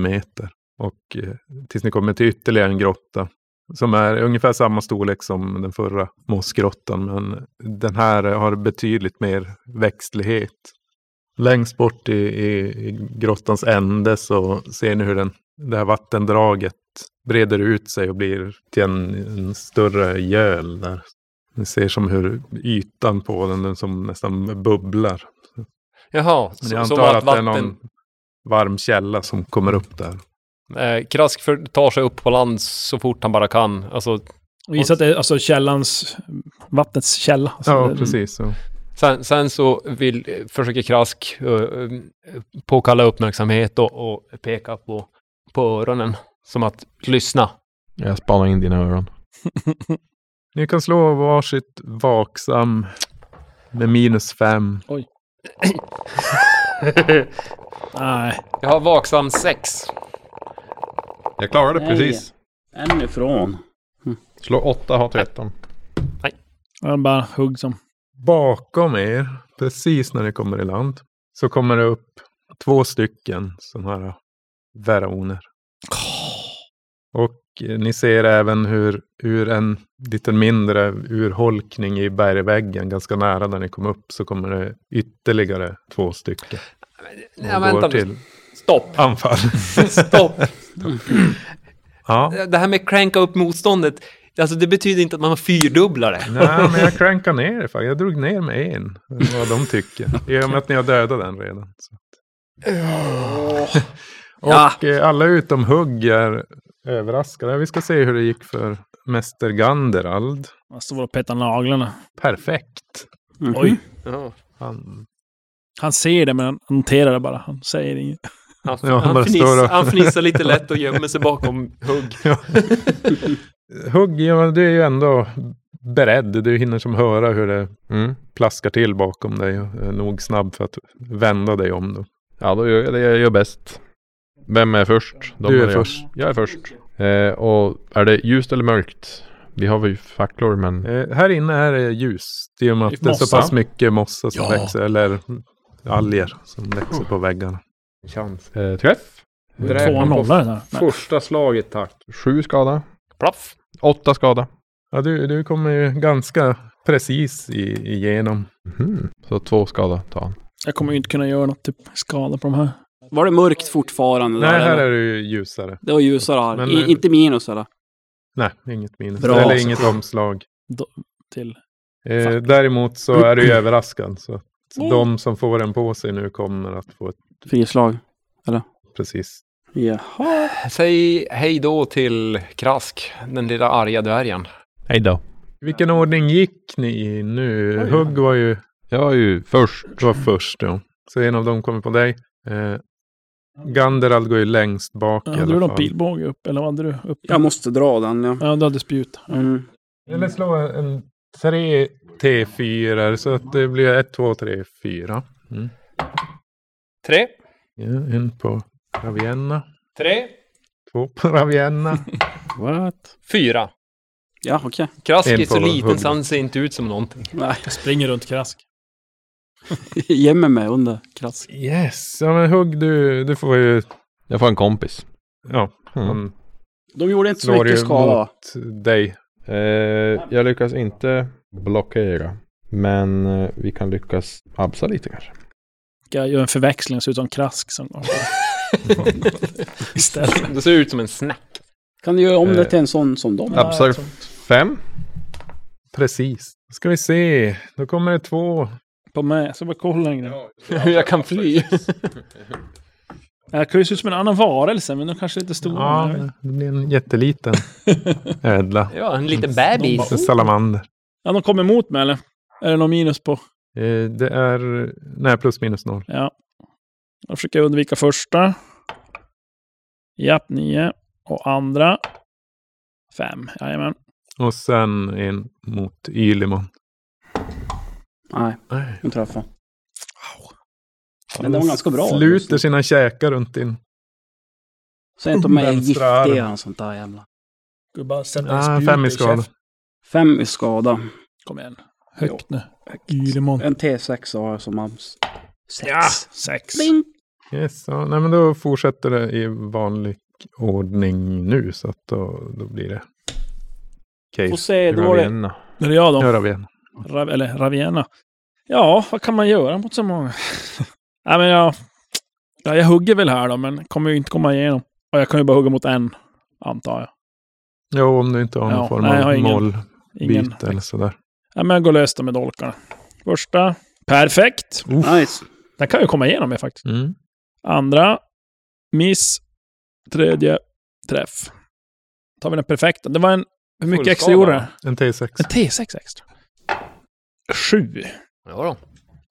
S5: meter. Och eh, tills ni kommer till ytterligare en grotta. Som är ungefär samma storlek som den förra mossgrottan. Men den här har betydligt mer växtlighet. Längst bort i, i, i grottans ände så ser ni hur den, det här vattendraget breder ut sig och blir till en, en större göl där. Ni ser som hur ytan på den, den som nästan bubblar.
S7: Jaha,
S5: Men
S7: så,
S5: jag
S7: som
S5: antar
S7: att
S5: att det är
S7: vatten...
S5: någon varm källa som kommer upp där.
S7: Eh, Krask för, tar sig upp på land så fort han bara kan. Alltså,
S3: Och gissa att det är alltså källans... Vattnets källa. Alltså,
S5: Ja,
S3: det-
S5: precis. Så.
S7: sen, sen så vill, eh, försöker Krask eh, eh, påkalla uppmärksamhet och, och peka på, på öronen. Som att lyssna.
S4: Jag spanar in dina öron.
S5: Ni kan slå varsitt vaksam med minus fem.
S3: Nej.
S7: Jag har vaksam sex.
S4: Jag klarade
S2: Nej.
S4: precis.
S2: En ifrån.
S4: Slå 8, har 13.
S3: Jag bara hugg som...
S5: Bakom er, precis när ni kommer i land, så kommer det upp två stycken sådana här veraoner. Och eh, ni ser även hur, hur en liten mindre urholkning i bergväggen, ganska nära när ni kommer upp, så kommer det ytterligare två stycken.
S7: Ja,
S5: Och går
S7: vänta nu.
S5: till
S7: Stopp,
S5: anfall.
S7: stopp.
S5: ja.
S7: Det här med cranka upp motståndet, alltså det betyder inte att man fyrdubblar det.
S5: Nej, men jag crankar ner det. fan. Jag drog ner med en. Vad de tycker. I och med att ni har dödat den redan. Så. Och
S7: Ja.
S5: eh, alla utom Hugg är överraskade. Vi ska se hur det gick för Mäster Ganderald.
S3: Man står och petar naglarna.
S5: Perfekt.
S3: Oj.
S5: Han,
S3: Han ser det men han noterar det bara. Han säger inget.
S7: Han,
S5: Ja,
S7: han,
S5: bara står
S7: fniss,
S5: och-
S7: han fnissar lite lätt och gömmer sig bakom hugg.
S5: Hugg, ja, du är ju ändå beredd. Du hinner som höra hur det
S4: Mm.
S5: plaskar till bakom dig. och är Nog snabb för att vända dig om. Då.
S4: Ja, då gör jag det jag gör bäst. Vem är först? De
S5: Du är
S4: eller jag?
S5: först.
S4: Jag är först. Eh, och är det ljust eller mörkt? Vi har väl facklor, men...
S5: Eh, här inne är det ljust i och med att det är så
S3: Mossa.
S5: pass mycket mossa som växer, eller alger som växer på väggarna.
S8: Chans.
S4: Eh, träff.
S8: Dräp
S3: Två
S8: honom på
S3: nollar där. Nej.
S8: Första slaget, tack.
S4: Sju skada.
S7: Plaff.
S4: Åtta skada.
S5: Ja, du, du kommer ju ganska precis i, igenom.
S4: Mhm. Så två skada tar han.
S3: Jag kommer ju inte kunna göra något typ skada på de här.
S2: Var det mörkt fortfarande?
S5: Nej,
S2: där,
S5: här
S2: eller?
S5: är det ju ljusare.
S2: Det var ljusare här.
S5: Men, eh,
S2: I, inte minus eller?
S5: Nej, inget minus.
S3: Bra.
S5: Eller inget omslag.
S3: Till.
S5: Eh,
S3: Fuck.
S5: däremot så är du ju överraskad. Så att
S3: Mm.
S5: de som får den på sig nu kommer att få ett
S2: Frislag.
S5: precis.
S2: Jaha.
S7: Säg hej då till Krask, den lilla arga dvärgen.
S4: Hej då.
S5: Vilken ordning gick ni i nu?
S4: Oj.
S5: Hugg var ju
S4: Jag är ju först.
S5: var först då. Så en av dem kommer på dig. Eh, Ganderald går ju längst bak i
S3: Hade du
S5: alla
S3: någon
S5: fall.
S3: pilbåge upp? Eller vad hade du uppe?
S2: Jag måste dra den ja.
S3: Ja, du hade spjut. Ja.
S2: Mm.
S5: Eller slå en 3 T4 så att det blir 1, 2, 3, 4.
S7: Tre,
S5: En på Ravienna.
S7: tre,
S5: Två på Ravienna.
S2: What?
S7: fyra.
S2: Ja, okej.
S7: Krask
S5: En
S7: är så
S5: på
S7: liten
S5: hugg.
S7: så han ser inte ut som någonting.
S3: Jag springer runt krask.
S2: Gömmer mig under krask.
S5: Yes, ja men Hugg du, du får ju...
S4: Jag får en kompis.
S5: Ja,
S4: Mm.
S5: han
S2: De gjorde inte så
S5: slår ju
S2: mycket skada va?
S5: mot dig.
S4: Eh, jag lyckas inte blockera. Men eh, vi kan lyckas absa lite kanske.
S3: Jag gör en förväxling och ser ut som krask som går. Istället.
S7: Det ser ut som en snack.
S2: Kan du göra om
S4: Eh,
S2: det till en sån som dem?
S4: Absar
S3: sånt.
S4: fem.
S5: Precis. Då ska vi se. Då kommer det två.
S3: På mig. Jag ska bara kolla en grej.
S8: Hur jag kan fly.
S3: Jag kan ju se ut som en annan varelse, men de kanske är lite stora.
S5: Ja,
S3: Ja,
S5: det blir en jätteliten ödla.
S7: Ja, en liten
S3: Mm.
S2: Oh.
S7: bebis.
S5: En salamander.
S3: ja de kommer emot mig eller? Är det någon minus på?
S5: Eh, Det är, nej, plus minus noll.
S3: Ja. Jag försöker undvika första. Japp, nio. Och andra. Fem. Jajamän.
S5: Och sen en mot Ylimon.
S2: Nej,
S5: Nej.
S2: hon träffade. Men det var ganska bra.
S5: Sluter sina käkar runt din.
S2: Säg inte om jag är
S5: Vänstra
S2: giftig
S5: arm.
S2: eller något sånt där jävla.
S6: Du bara sätta en
S5: Ah,
S6: spjut
S5: fem i skada.
S6: käften.
S2: Fem i skada.
S3: Kom igen. Högt nu. Ylemon.
S2: En T6 har jag som abs. Sex.
S3: Ja, sex.
S2: Bing.
S5: Yes, ja. Nej, men då fortsätter det i vanlig ordning nu. Så att då, då blir det
S3: Får
S5: case.
S3: se, då var det...
S4: Ravenna.
S3: Nu är det jag då.
S5: Hör av igen.
S3: Rav, eller Ravienna. Ja, vad kan man göra mot så många? Nej, men jag, ja, jag hugger väl här då, men kommer ju inte komma igenom. Och jag kan ju bara hugga mot en, antar jag.
S5: Jo, om du inte har någon
S3: Ja,
S5: form
S3: nej, jag har
S5: av
S3: ingen-
S5: målbyte
S3: Ingen.
S5: eller sådär.
S3: Ja, men jag går löst då med dolkarna. Första. Perfekt.
S2: Nice.
S3: Den kan ju komma igenom mig faktiskt.
S5: Mm.
S3: Andra. Miss. Tredje. Träff. tar vi den perfekta. Det var en... Hur mycket extra
S8: Fullskada.
S3: gjorde det?
S5: En T6.
S3: En T6 extra. Sju.
S7: Ja, då.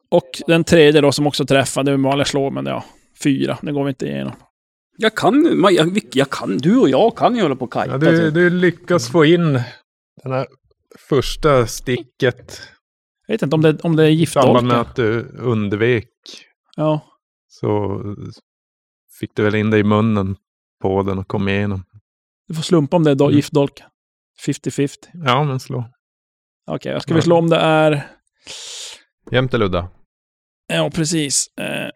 S3: Och den tredje då som också träffade, det var vanliga slå, men ja. Fyra. Det går vi inte igenom.
S2: Jag kan ju- man- jag, jag kan, du och jag kan ju hålla på och kajta.
S5: Ja, du,
S3: alltså-
S2: typ.
S5: du lyckas få in den här första sticket
S3: Jag vet inte om det, om det är
S5: i samband med
S3: giftdolkar.
S5: att du undvek.
S3: Ja.
S5: Så fick du väl in dig i munnen på den och kom igenom.
S3: Du får slumpa om det är do-
S5: Mm.
S3: giftdolkar. 50-50.
S5: Ja, men slå.
S3: Okej, jag ska vi slå om det är...
S4: Jämt eller udda?
S3: Ja, precis. Eh,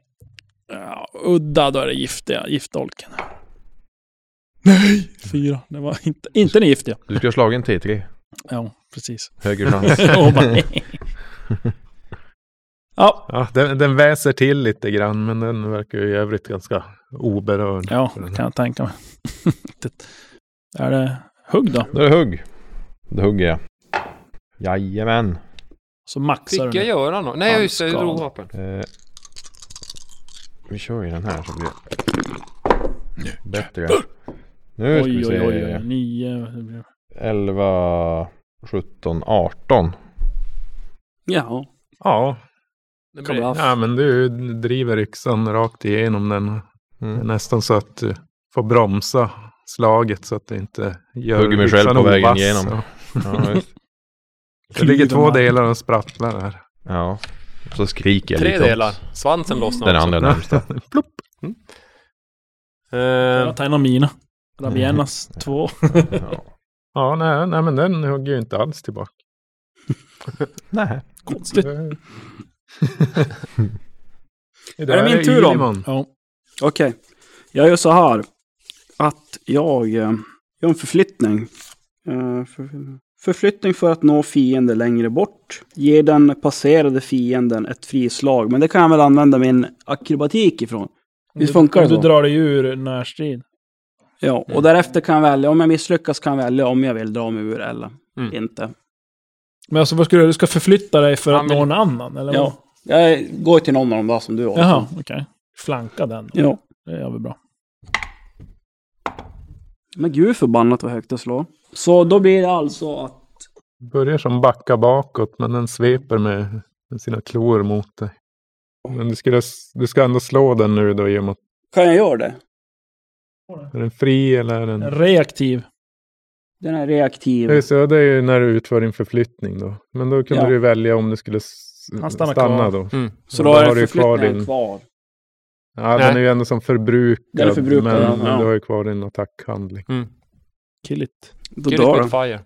S3: ja, udda, då är det giftiga. Giftdolken. Nej! Fyra. Det var inte, inte den giftiga.
S4: Du skulle ha slagit en T3.
S3: Ja, precis.
S4: Högre chans.
S3: Och bara, ja,
S5: Ja, den, den väser till lite grann, men den verkar ju i övrigt ganska oberörd.
S3: ja,
S5: för den
S3: det
S5: här.
S3: kan jag tänka mig. Det- är det hugg då?
S4: Då är det hugg. Då hugger jag. Jajamän.
S3: Så maxar
S7: Fick
S3: du.
S7: jag
S3: det.
S7: göra något? Nej, just det. Jag drog
S3: Handskad.
S7: vapen.
S4: Eh, vi kör ju den här så blir det bättre. Nu ska vi
S3: Oj, oj, oj,
S4: se.
S3: oj. Nio.
S4: 11, 17, 18.
S2: Ja,
S5: Ja,
S7: Det
S2: kan bli
S7: blir...
S5: ja, men du driver yxan rakt igenom den.
S4: Mm.
S5: Nästan så att du får bromsa slaget så att det inte gör
S4: Hugger mig själv
S5: yxan
S4: på vägen
S5: ovass.
S4: igenom. Ja, just.
S5: Det ligger två
S3: Klyven här.
S5: delar och sprattlar här.
S4: ja. Så skriker jag
S7: Tre
S4: lite åt
S7: delar. Svansen lossnar
S4: Den
S7: också.
S4: andra närmsta.
S7: Eh,
S3: Jag tar en av mina.
S5: Mm.
S3: Rabienas två.
S4: Ja.
S5: Ja, nej, nej, men den hugger ju inte alls tillbaka.
S4: Nej.
S3: Konstigt.
S5: Mm. Idag
S2: min tur då?
S5: Ilimon.
S3: Ja.
S2: okej. Jag gör så här. Att jag eh, gör en förflyttning. Eh, för, förflyttning för att nå fiende längre bort. Ger den passerade fienden ett frislag. Men det kan jag väl använda min akrobatik ifrån. Visst funkar det
S3: Du
S2: så?
S3: drar dig ur närstrid.
S2: Ja, och därefter kan jag välja. Om jag misslyckas kan jag välja om jag vill dra mig ur eller
S7: Mm.
S2: inte.
S3: Men alltså vad ska du göra? Du ska förflytta dig för
S7: Han
S3: att
S7: vill-
S3: nå en annan? Eller
S2: Ja. Jag går till någon av dem där som du har.
S3: vad? Jaha, okej. Flanka den. då.
S2: Ja.
S3: Det gör vi bra.
S2: Men gud förbannat vad högt det slår. Så då blir det alltså att...
S5: Börjar som backa bakåt, men den sveper med, med sina klor mot dig. Men du, skulle, du ska ändå slå den nu då, i och med att-
S2: Kan jag göra det?
S5: är den fri eller är den...
S3: Reaktiv.
S2: Den är reaktiv.
S5: Just, det, ja, det är ju när du utför din förflyttning då. Men då kunde
S2: Ja.
S5: du välja om du skulle s-
S3: Han stannar
S5: stanna
S3: kvar.
S5: då.
S2: Så då
S5: Ja, då
S2: är
S5: har
S2: det
S5: du kvar
S2: förflyttningen
S5: din-
S2: kvar.
S5: Ja,
S7: Nej.
S5: den är ju ändå som förbrukad.
S2: Den är förbrukad,
S5: men,
S2: ja. Mm.
S5: men du har ju kvar din attackhandling.
S3: Kill it.
S2: Då
S7: Kill it
S2: dör den.
S7: with fire.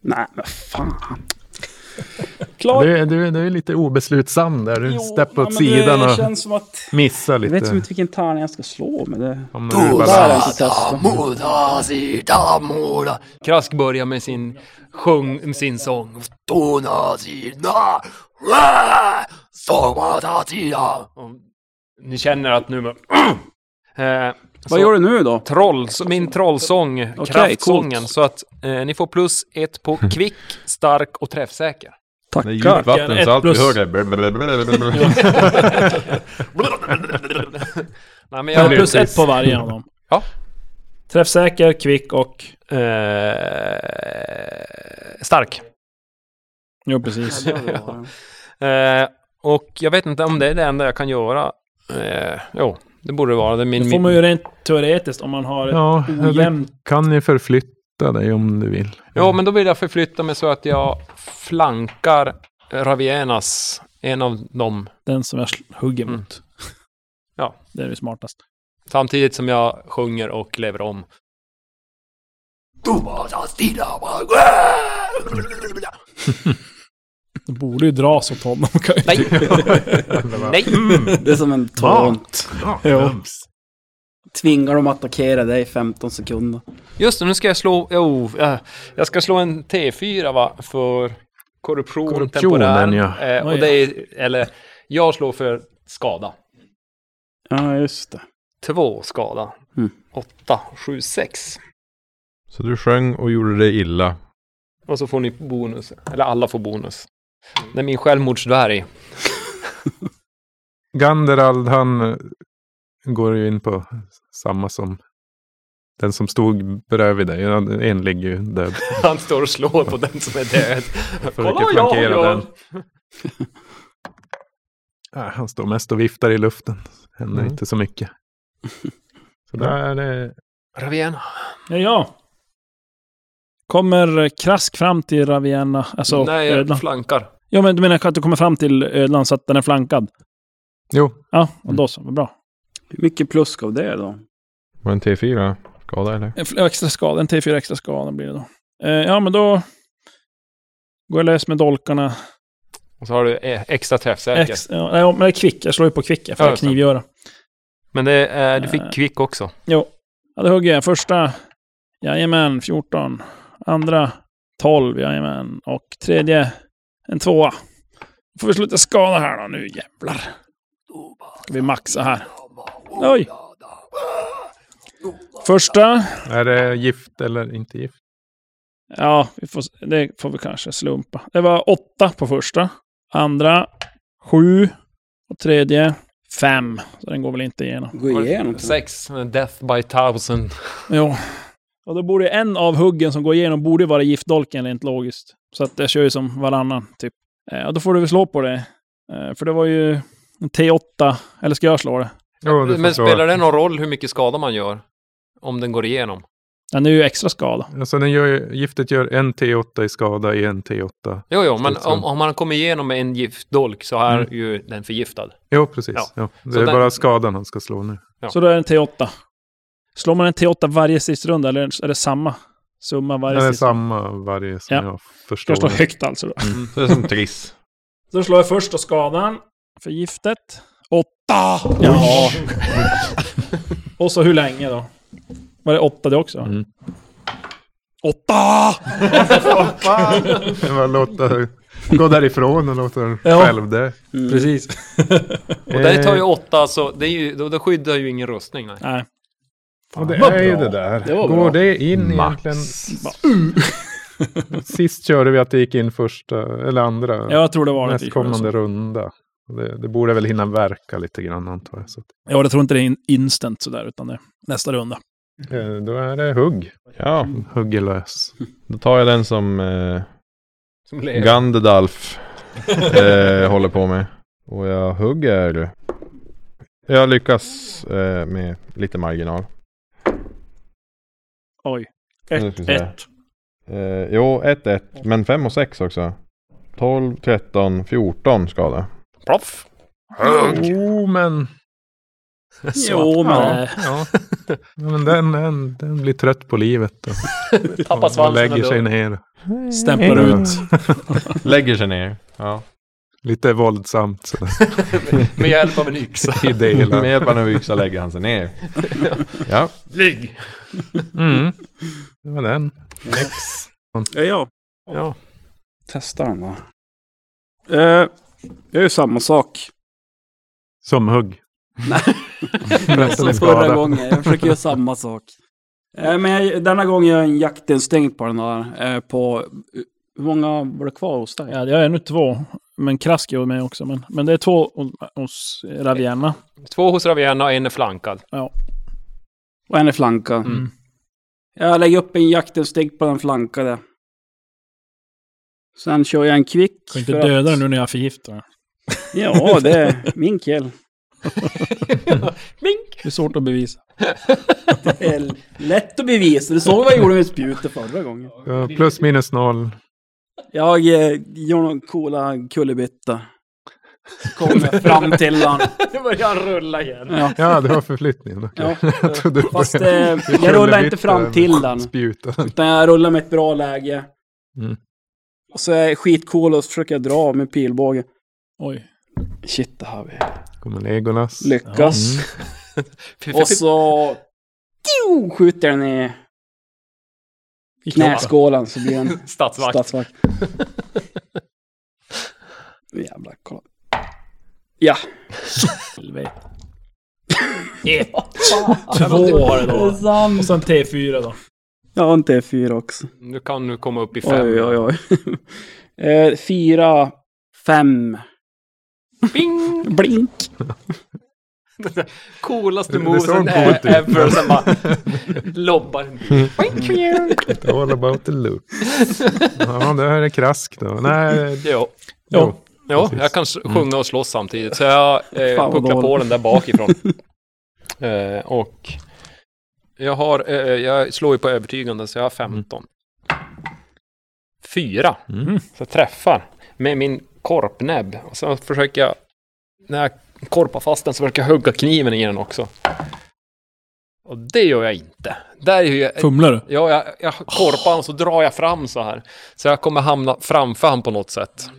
S2: Nej, men fan.
S3: Klart.
S5: Du, är- du, är- du är lite obeslutsam där. Du steppar åt sidan
S2: Det
S5: och
S2: känns som att...
S5: missar
S2: Jag
S5: lite.
S2: vet som inte vilken tärning jag ska slå med det.
S5: Hamnar du i
S2: Där
S5: balans.
S2: har jag inte testat.
S7: Krask börjar med sin, sjung, med sin sång. Och Ni känner att nu... Eh,
S2: Vad
S7: Så-
S2: gör du nu då?
S7: Trolls, min trollsång, kraftsången. Så att eh, ni får plus ett på kvick, stark och träffsäker.
S4: Det är djupt vatten så allt vi hör är...
S7: Nej, men
S3: Jag har
S7: jag,
S3: plus ett på varje av dem.
S7: Ja.
S3: Träffsäker, kvick och...
S7: eh, stark.
S3: Jo, precis.
S7: Eh, och jag vet inte om det är det enda jag kan göra. Eh, jo, det borde det vara. Det är min,
S3: Det får man ju rent teoretiskt om man har ett
S5: Ja, eller
S3: ojämnt...
S5: kan ni förflytta dig om du vill?
S7: Jo, men då vill jag förflytta mig så att jag flankar Ravienas, en av dem,
S3: Den som jag sl- hugger mot.
S7: Mm. Ja.
S3: Det är det smartast.
S7: samtidigt som jag sjunger och lever om.
S3: De borde ju dras åt honom. kan jag ju
S7: Nej.
S3: tycka.
S7: Nej!
S2: Det är som en taunt.
S3: Jo.
S2: Tvingar dem att attackera dig i 15 sekunder.
S7: Just det, nu ska jag slå... Jo, eh, jag ska slå en T4 va, för korruption,
S5: Korruptionen,
S7: temporär.
S5: ja.
S7: Eh, och
S3: Oj.
S7: det är, eller, jag slår för skada.
S2: Ja, just det.
S7: Två skada.
S2: Mm.
S7: Åtta, sju, sex.
S4: Så du sjöng och gjorde dig illa.
S7: Och så får ni bonus. Eller alla får bonus. Det är min självmordsdvärg.
S5: Ganderald, han eh, går ju in på samma som den som stod bredvid dig. Han- En ligger ju död.
S7: Han står och slår på den som är död.
S5: Försöker
S7: vad jag
S5: flankera
S7: gör.
S5: den. Nej, han står mest och viftar i luften. Händer
S4: Mm.
S5: inte så mycket. Så där är det...
S7: Raviena.
S3: Ja, ja. Kommer eh, Krask fram till Ravienna? Alltså
S7: Nej, jag
S3: ödlan?
S7: flankar.
S3: Ja, men du menar att du kommer fram till ödlan så att den är flankad?
S5: Jo,
S3: Ja, och då så. Vad bra.
S2: Hur mycket plus gav det då?
S4: Var det en T4? Skada eller?
S3: En fl- extra skada, en T4 extra skada blir det då. Eh, ja, men då går jag lös med dolkarna.
S7: Och så har du eh, extra träffsäker.
S3: Ex, ja, nej, ja, men det är kvick. Jag slår ju på kvick, jag
S7: Ja,
S3: får
S7: just det.
S3: knivgöra.
S7: Men det, eh, du
S3: Eh.
S7: fick kvick också.
S3: Jo, ja, då hugger jag. Första, jajamän, 14. Andra, 12, jajamän. Och tredje, en tvåa. Då får vi sluta skada här då, nu jävlar. Ska vi maxa här. Oj! Första,
S5: är det gift eller inte gift?
S3: Ja, vi får, s- det får vi kanske slumpa. Det var åtta på första. Andra, sju. Och tredje, fem. Så den går väl inte igenom.
S2: Gå igenom.
S7: Sex. eh, Death by thousand.
S3: Jo. Och då borde ju en av huggen som går igenom borde ju vara giftdolken rent logiskt. Så att jag kör ju som varannan, typ. Eh, och då får du väl slå på det. Eh, för det var ju en T8. Eller ska jag slå det?
S5: Jo, du får
S7: Men
S5: slå.
S7: spelar det någon roll hur mycket skada man gör? Om den går igenom?
S3: Den är ju extra skada.
S5: Alltså den gör, ju- giftet gör en T8 i skada i en T8.
S7: Jo, jo, men
S5: Så-
S7: om, om man kommer igenom med en giftdolk så är ju den förgiftad.
S5: Jo, precis.
S7: Ja.
S5: Ja.
S7: Så
S5: Det är
S7: den-
S5: bara skadan han ska slå nu.
S7: Ja.
S3: Så då är det en T8. Slår man en T8 varje sistrunda eller är det samma summa varje
S5: Den är
S3: sistrunda?
S5: samma varje som
S3: Ja.
S5: jag
S3: Ska
S5: förstår.
S3: jag slå
S5: det.
S3: högt alltså då?
S4: Så det är som Triss.
S3: Så då slår jag först då skadan för giftet. Åtta! Jaha. Och så hur länge då? Var det åtta det också?
S5: Mm.
S3: Åtta!
S5: Det var låta, gå därifrån och låta den
S3: Ja.
S5: själv det.
S3: Precis.
S7: Och det tar ju åtta, så det, är ju, då, det skyddar ju ingen rustning. Nej.
S3: Nej.
S5: Och det är ju det där.
S2: Det var bra.
S5: Går det in
S4: Max.
S5: egentligen? Sist körde vi att det gick in första, eller andra,
S3: Jag tror det var det.
S5: nästkommande runda. Och Det, det borde väl hinna verka lite grann antar jag. Så att,
S3: Ja, jag tror inte det är in- instant sådär, utan det är nästa runda.
S5: eh, då är det hugg.
S4: Ja,
S5: Hugger lös.
S4: då tar jag den som eh,
S7: Som lever.
S4: Gandalf eh, håller på med. Och jag hugger. Jag lyckas eh, med lite marginal.
S3: Oj.
S4: Nu ska vi
S3: Ett,
S4: se.
S3: ett.
S4: Eh, jo, 1-1. Men 5 och 6 också. 12, 13, 14 skada.
S7: Proff!
S5: Jo, men...
S2: Jo, men...
S5: Ja, ja. Ja, men den, den, den blir trött på livet. Och,
S7: Tappar
S5: och
S7: svansen
S5: lägger
S7: ändå.
S5: sig ner.
S3: Stämplar
S5: Ja.
S3: ut.
S4: Lägger sig ner. Ja.
S5: Lite våldsamt sådär.
S7: Med hjälp av en yxa.
S5: I
S4: Med
S5: delar.
S4: hjälp av en yxa lägger han sig ner. Ja.
S7: Ligg!
S5: Mm. Det var den.
S2: Ja, ja.
S7: Ja.
S2: Testa den då. Eh, jag gör samma sak.
S5: Som hugg. Resten är
S2: Som förra
S5: skada.
S2: gången, jag försöker göra samma sak. Eh, Men jag, denna gång gör jag en jaktinstinkt på den här. eh, På, hur många var det kvar hos dig?
S3: Ja, jag är nu två. Men Krask är med också. Men, men det är två hos- hos Ravienna.
S7: Två hos Ravienna och en är flankad.
S2: Och en är flankad.
S7: Mm.
S2: Jag lägger upp en jaktinstinkt på den flankade. Sen kör jag en kvick.
S3: Kan inte
S2: för att-
S3: döda den nu när jag förgiftar den.
S2: Ja, det är min kväll.
S3: Det är svårt att bevisa.
S2: Det är lätt att bevisa. Du såg vad jag gjorde med spjutet förra gången.
S5: Ja, plus minus noll.
S2: Jag eh, gör några coola kullerbyttor. Så Kommer jag fram till han.
S7: Nu börjar han rulla igen.
S2: Ja,
S5: Ja, det var förflyttningen. okej.
S2: ja.
S5: Jag trodde det var
S2: Fast eh, jag rullar inte
S5: eh,
S2: fram till den.
S5: Spjuta.
S2: Utan jag rullar med ett bra läge.
S5: Mm.
S2: Och så är jag skitcool och så försöker jag dra av med pilbåge.
S3: Oj.
S2: Shit, det här vi
S5: Kommer Legolas.
S2: lyckas.
S5: Mm.
S2: Och så tju, skjuter den i
S3: I
S2: knäskålen så blir den
S7: Statsvakt.
S2: statsvakt. Jävlar, kolla. Ja.
S3: Helvete.
S7: Ett.
S3: Två har det då.
S2: sant.
S3: Och sen T4 då.
S2: Jag har en T4 också.
S7: Nu kan du komma upp i fem.
S2: Oj, oj, oj. eh, fyra, fem.
S7: Bing!
S2: Blink.
S7: Coolaste
S5: Det- det såg
S7: movesen
S5: coolt ut.
S7: ever. Sen bara lobbar en bil.
S5: It's all about the loop. Ja, det här är krask då. Nej,
S7: Jo,
S5: jo.
S7: jo
S5: Precis.
S7: jag kan s- sjunga och slåss samtidigt. Så jag eh,
S2: vad
S7: pucklar på
S2: dåligt.
S7: den där bakifrån. eh, och jag har, eh, jag slår ju på övertygande så jag har 15. Fyra.
S5: Mm.
S7: Så jag träffar med min korpnäbb. Och sen försöker jag, när jag korpar fast den så försöker jag hugga kniven i den också. Och det gör jag inte. Där är ju,
S3: Fumlar du?
S7: Ja, jag, jag korpar honom så drar jag fram så här. Så jag kommer hamna framför honom på något sätt.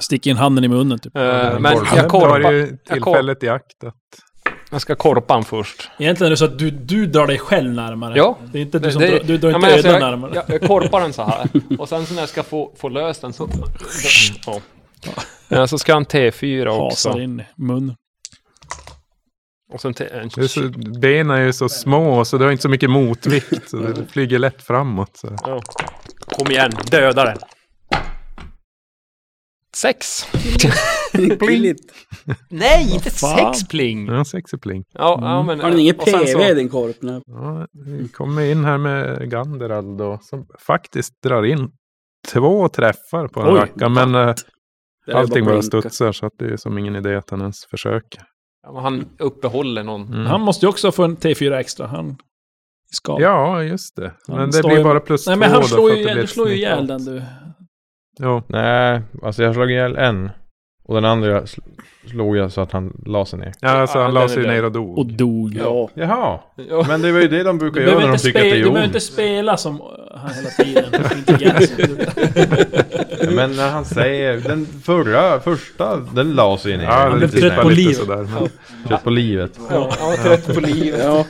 S3: Stick in handen i munnen typ.
S7: Eh, men jag
S5: Det var
S7: korpar.
S5: ju tillfället i akt. att-
S7: Jag ska korpa honom först.
S3: Egentligen är det så att du, du drar dig själv närmare.
S7: Ja.
S3: Det är inte du som
S7: Det-
S3: drar, du drar
S7: ja,
S3: inte
S7: men alltså,
S3: öden
S7: jag,
S3: närmare.
S7: jag, jag korpar den så här. Och sen så när jag ska få, få lös den så... Ja. Eh, Så ska han T4
S3: Hasar
S7: också.
S3: in i munnen.
S7: Och sen T... en-
S5: Det är så, benen är ju så små så du har inte så mycket motvikt. Så det flyger lätt framåt. Så.
S7: Ja. Kom igen, döda den. Sex.
S2: Billigt.
S7: Nej, inte
S3: fan?
S7: sex pling.
S5: Ja, sexig pling.
S7: Ja,
S5: Mm.
S7: ja, men,
S2: Har den ingen
S7: och sen så-
S2: PV i din korp nu?
S5: Ja, vi kommer in här med Ganderald då. Som faktiskt drar in två träffar på en
S3: Oj.
S5: racka. Men eh,
S2: Det är
S5: allting bara
S2: blinka.
S5: studsar så att det är som ingen idé att han ens försöker.
S7: Ja, men Han uppehåller någon.
S5: Mm.
S3: Han måste ju också få en T4 extra. Han ska.
S5: Ja, just det.
S3: Han
S5: Men det
S3: står
S5: blir
S3: ju-
S5: bara plus
S3: Nej
S5: två.
S3: men han
S5: då
S3: slår
S5: för
S3: ju,
S5: att det
S3: ihjäl-
S5: blir
S3: du
S5: ett
S3: slår ju
S5: snitt.
S3: ihjäl den du.
S5: Jo.
S4: Nej, alltså jag slog ihjäl en. Och den andra sl- slog jag så att han la sig ner.
S5: Ja, alltså
S7: Ja,
S5: han
S7: den
S5: la
S7: är
S5: sig
S7: död.
S5: ner och dog.
S3: Och dog.
S2: Ja.
S4: Jaha,
S7: Ja.
S4: men det var ju det de brukar
S3: Du
S4: göra
S3: behöver,
S4: när de
S3: inte
S4: tycker att
S3: spela,
S4: det
S3: du
S4: gör
S3: behöver
S4: ont.
S3: inte spela som uh, han hela tiden. Intelligens.
S4: Ja, Men när han säger, den förra, första, den la sig ner.
S5: Ja, det
S4: Han
S5: blev
S4: blev
S5: trött
S4: trött
S5: på
S4: på,
S5: lite sådär. Men
S4: trött på livet.
S7: Ja, han var trött på livet.
S2: Ja.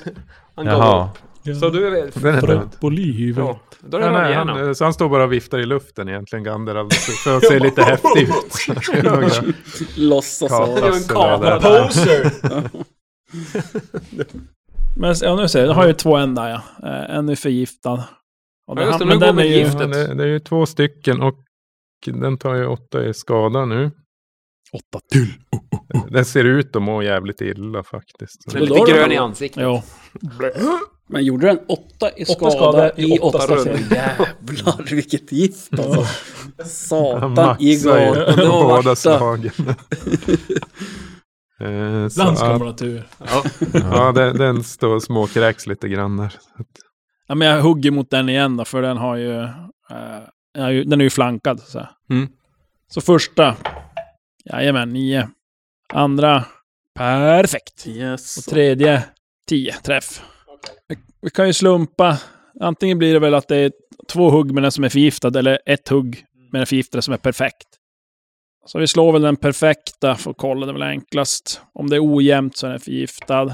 S7: Han gav
S4: Jaha.
S7: upp. Så du är väl...
S5: den är död.
S3: På livet.
S7: Ja, då är det
S5: Nej, nej,
S7: Ravienna.
S5: han, så han står bara och viftar i luften egentligen, Ganderald. För att se lite häftig ut. Några
S2: Låtsas så.
S5: katas
S7: gör en
S5: eller
S7: kamera.
S5: där.
S3: Poser! men ja, nu ser jag, jag har ju två en där ja. Eh, En är förgiftad. Och
S7: Ja, just det,
S3: han-
S7: nu går vi
S3: ju...
S7: gift.
S5: Ja, det, det är ju två stycken och den tar ju åtta i skada nu.
S3: Åtta till.
S5: Den ser ut att må jävligt illa faktiskt. Så
S7: Den är
S2: Då är det
S7: lite grön
S2: väl-
S7: i ansiktet.
S3: Ja.
S2: Men gjorde den åtta i skada,
S3: skada i
S2: i
S3: åtta
S2: åtta
S3: rundor.
S2: rundor? Jävlar vilket gift alltså.
S5: han
S2: Satan
S5: maxar
S2: i
S5: ju
S2: gatan. Det
S5: på
S2: var
S5: båda
S2: värsta.
S5: slagen. Eh, så
S3: Ibland ska
S5: att-
S3: man ha tur.
S5: Ja, den, den står småkräks lite grann där.
S3: Ja, men jag hugger mot den igen då, för den har ju... eh, den har ju- den är ju flankad. Så, här.
S7: Mm.
S3: så första. Jajamän, nio. Andra. Perfekt. Och
S2: Yes.
S3: tredje, 10 träff. Vi, vi kan ju slumpa. Antingen blir det väl att det är två hugg med den som är förgiftad eller ett hugg med den förgiftade som är perfekt. Så vi slår väl den perfekta för att kolla, det är väl enklast. Om det är ojämnt så är den förgiftad.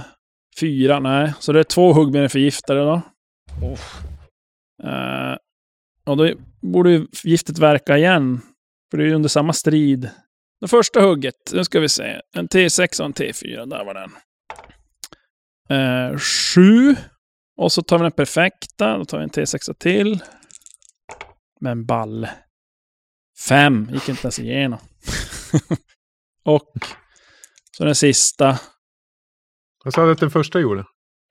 S3: Fyra, nej. Så det är två hugg med den förgiftade då. Eh, och då borde ju giftet verka igen. För det är ju under samma strid. Det första hugget, nu ska vi se. En T6 och en T4, där var den. Eh, sju. Och så tar vi den perfekta, då tar vi en T6 till. Med en ball. Fem, gick inte ens igenom. och så den sista,
S5: Jag sa att den första gjorde.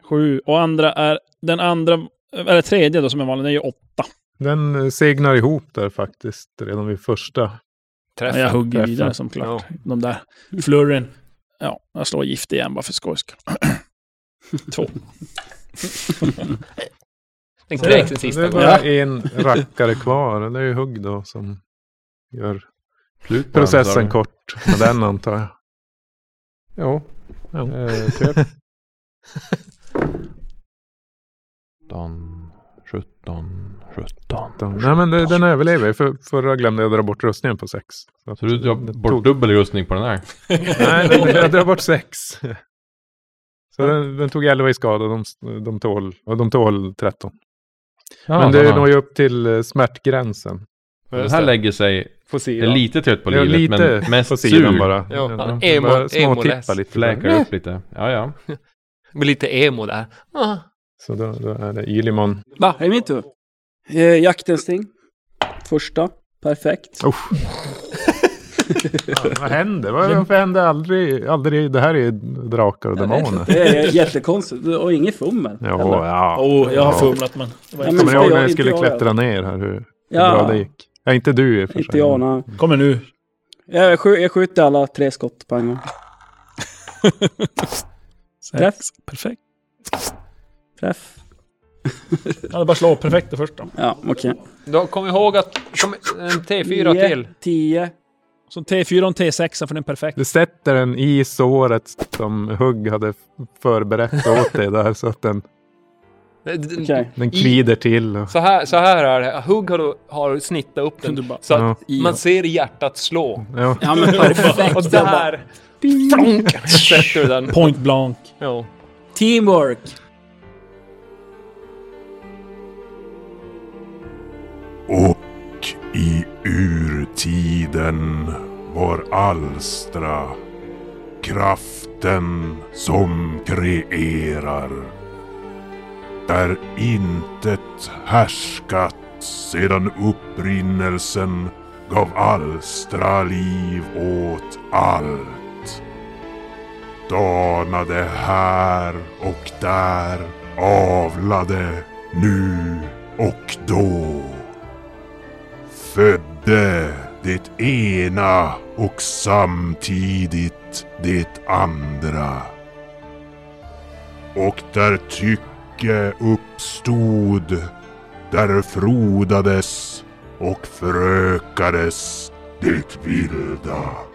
S3: sju. Och andra är, den andra, eller tredje då som är vanlig, den är ju åtta.
S5: Den eh, segnar ihop där faktiskt redan vid första.
S3: Ja, jag hugger vidare som klart. De där flurren. Ja, jag slår gift igen bara för skojs skull. Två.
S7: Den kräks den sista
S5: det är
S7: gången.
S5: bara en rackare kvar. Det är ju hugg då som gör
S4: Slut på den, sa
S5: processen
S4: du.
S5: kort. Med den antar jag.
S4: Jo.
S5: Ja.
S4: Eh, typ. 17, 17, 17.
S5: Då- Nej men det, den överlever jag. För, förra glömde jag dra bort rustningen på sex. Så att-
S4: Så du drar
S5: det
S4: bort
S5: tog-
S4: dubbel rustning på den här?
S5: Nej, den, jag drar bort sex. Så den, den tog 11 i skada. De, de, tål, och de tål 13.
S4: Ja,
S5: men det
S4: den här.
S5: når ju upp till eh, smärtgränsen.
S4: Den här lägger sig, är
S8: Fossila.
S4: lite trött på
S5: Det är
S4: livet men mest
S5: på sidan
S4: sur.
S5: bara.
S8: Ja.
S5: bara
S7: Emo-
S5: småtippa
S7: emo-läs.
S5: lite.
S4: Fläkar upp lite. Ja, ja.
S7: Det blir lite emo där. Ah.
S5: Så då, då är det Ylimon.
S2: Va, är det min tur? Eh, jaktinstinkt. Första. Perfekt.
S5: Vad händer? Vad- Varför händer aldrig, aldrig? Det här är ju drakar och demoner.
S2: Det är jättekonstigt. Och inget fummel.
S5: Ja,
S2: heller.
S5: ja.
S3: Oh, jag har
S5: Ja.
S3: fumlat men... Det var
S2: Ja,
S3: inte-
S5: Kommer ni ihåg
S2: jag-
S5: när jag
S2: inte
S5: skulle
S2: jag,
S5: klättra ner här? Hur, hur bra
S2: Ja,
S5: det gick? Ja, inte du i och för sig.
S2: inte jag. Nej.
S3: Kommer nu.
S2: Jag, skj- jag skjuter alla tre skott på en gång. Träff.
S3: Perfekt.
S2: Träff.
S3: Ja, det bara slå perfekt det första.
S2: Ja, okej.
S7: Då kom ihåg att... Kom, en T4
S2: Nio,
S7: till.
S2: Tio.
S3: Så en T4 och en T6 för den är perfekt.
S5: Du sätter den i såret som Hugg hade förberett åt dig där så att den,
S2: Okej.
S5: den kvider till. Och,
S7: Så här, så här är det. Hugg har, du- har snittat upp
S3: Du
S7: den.
S3: bara-
S7: Så
S5: Ja.
S7: att man ser hjärtat slå.
S5: ja.
S2: Ja, men perfekt.
S7: Och där... Flonk! Sätter du den.
S3: Point blank.
S7: Ja.
S2: Teamwork.
S1: Och i urtiden var alstra kraften som kreerar. Där intet härskat sedan upprinnelsen gav alstra liv åt allt. Danade här och där, avlade nu och då födde det ena och samtidigt det andra. Och där tycke uppstod, där frodades och förökades det vilda.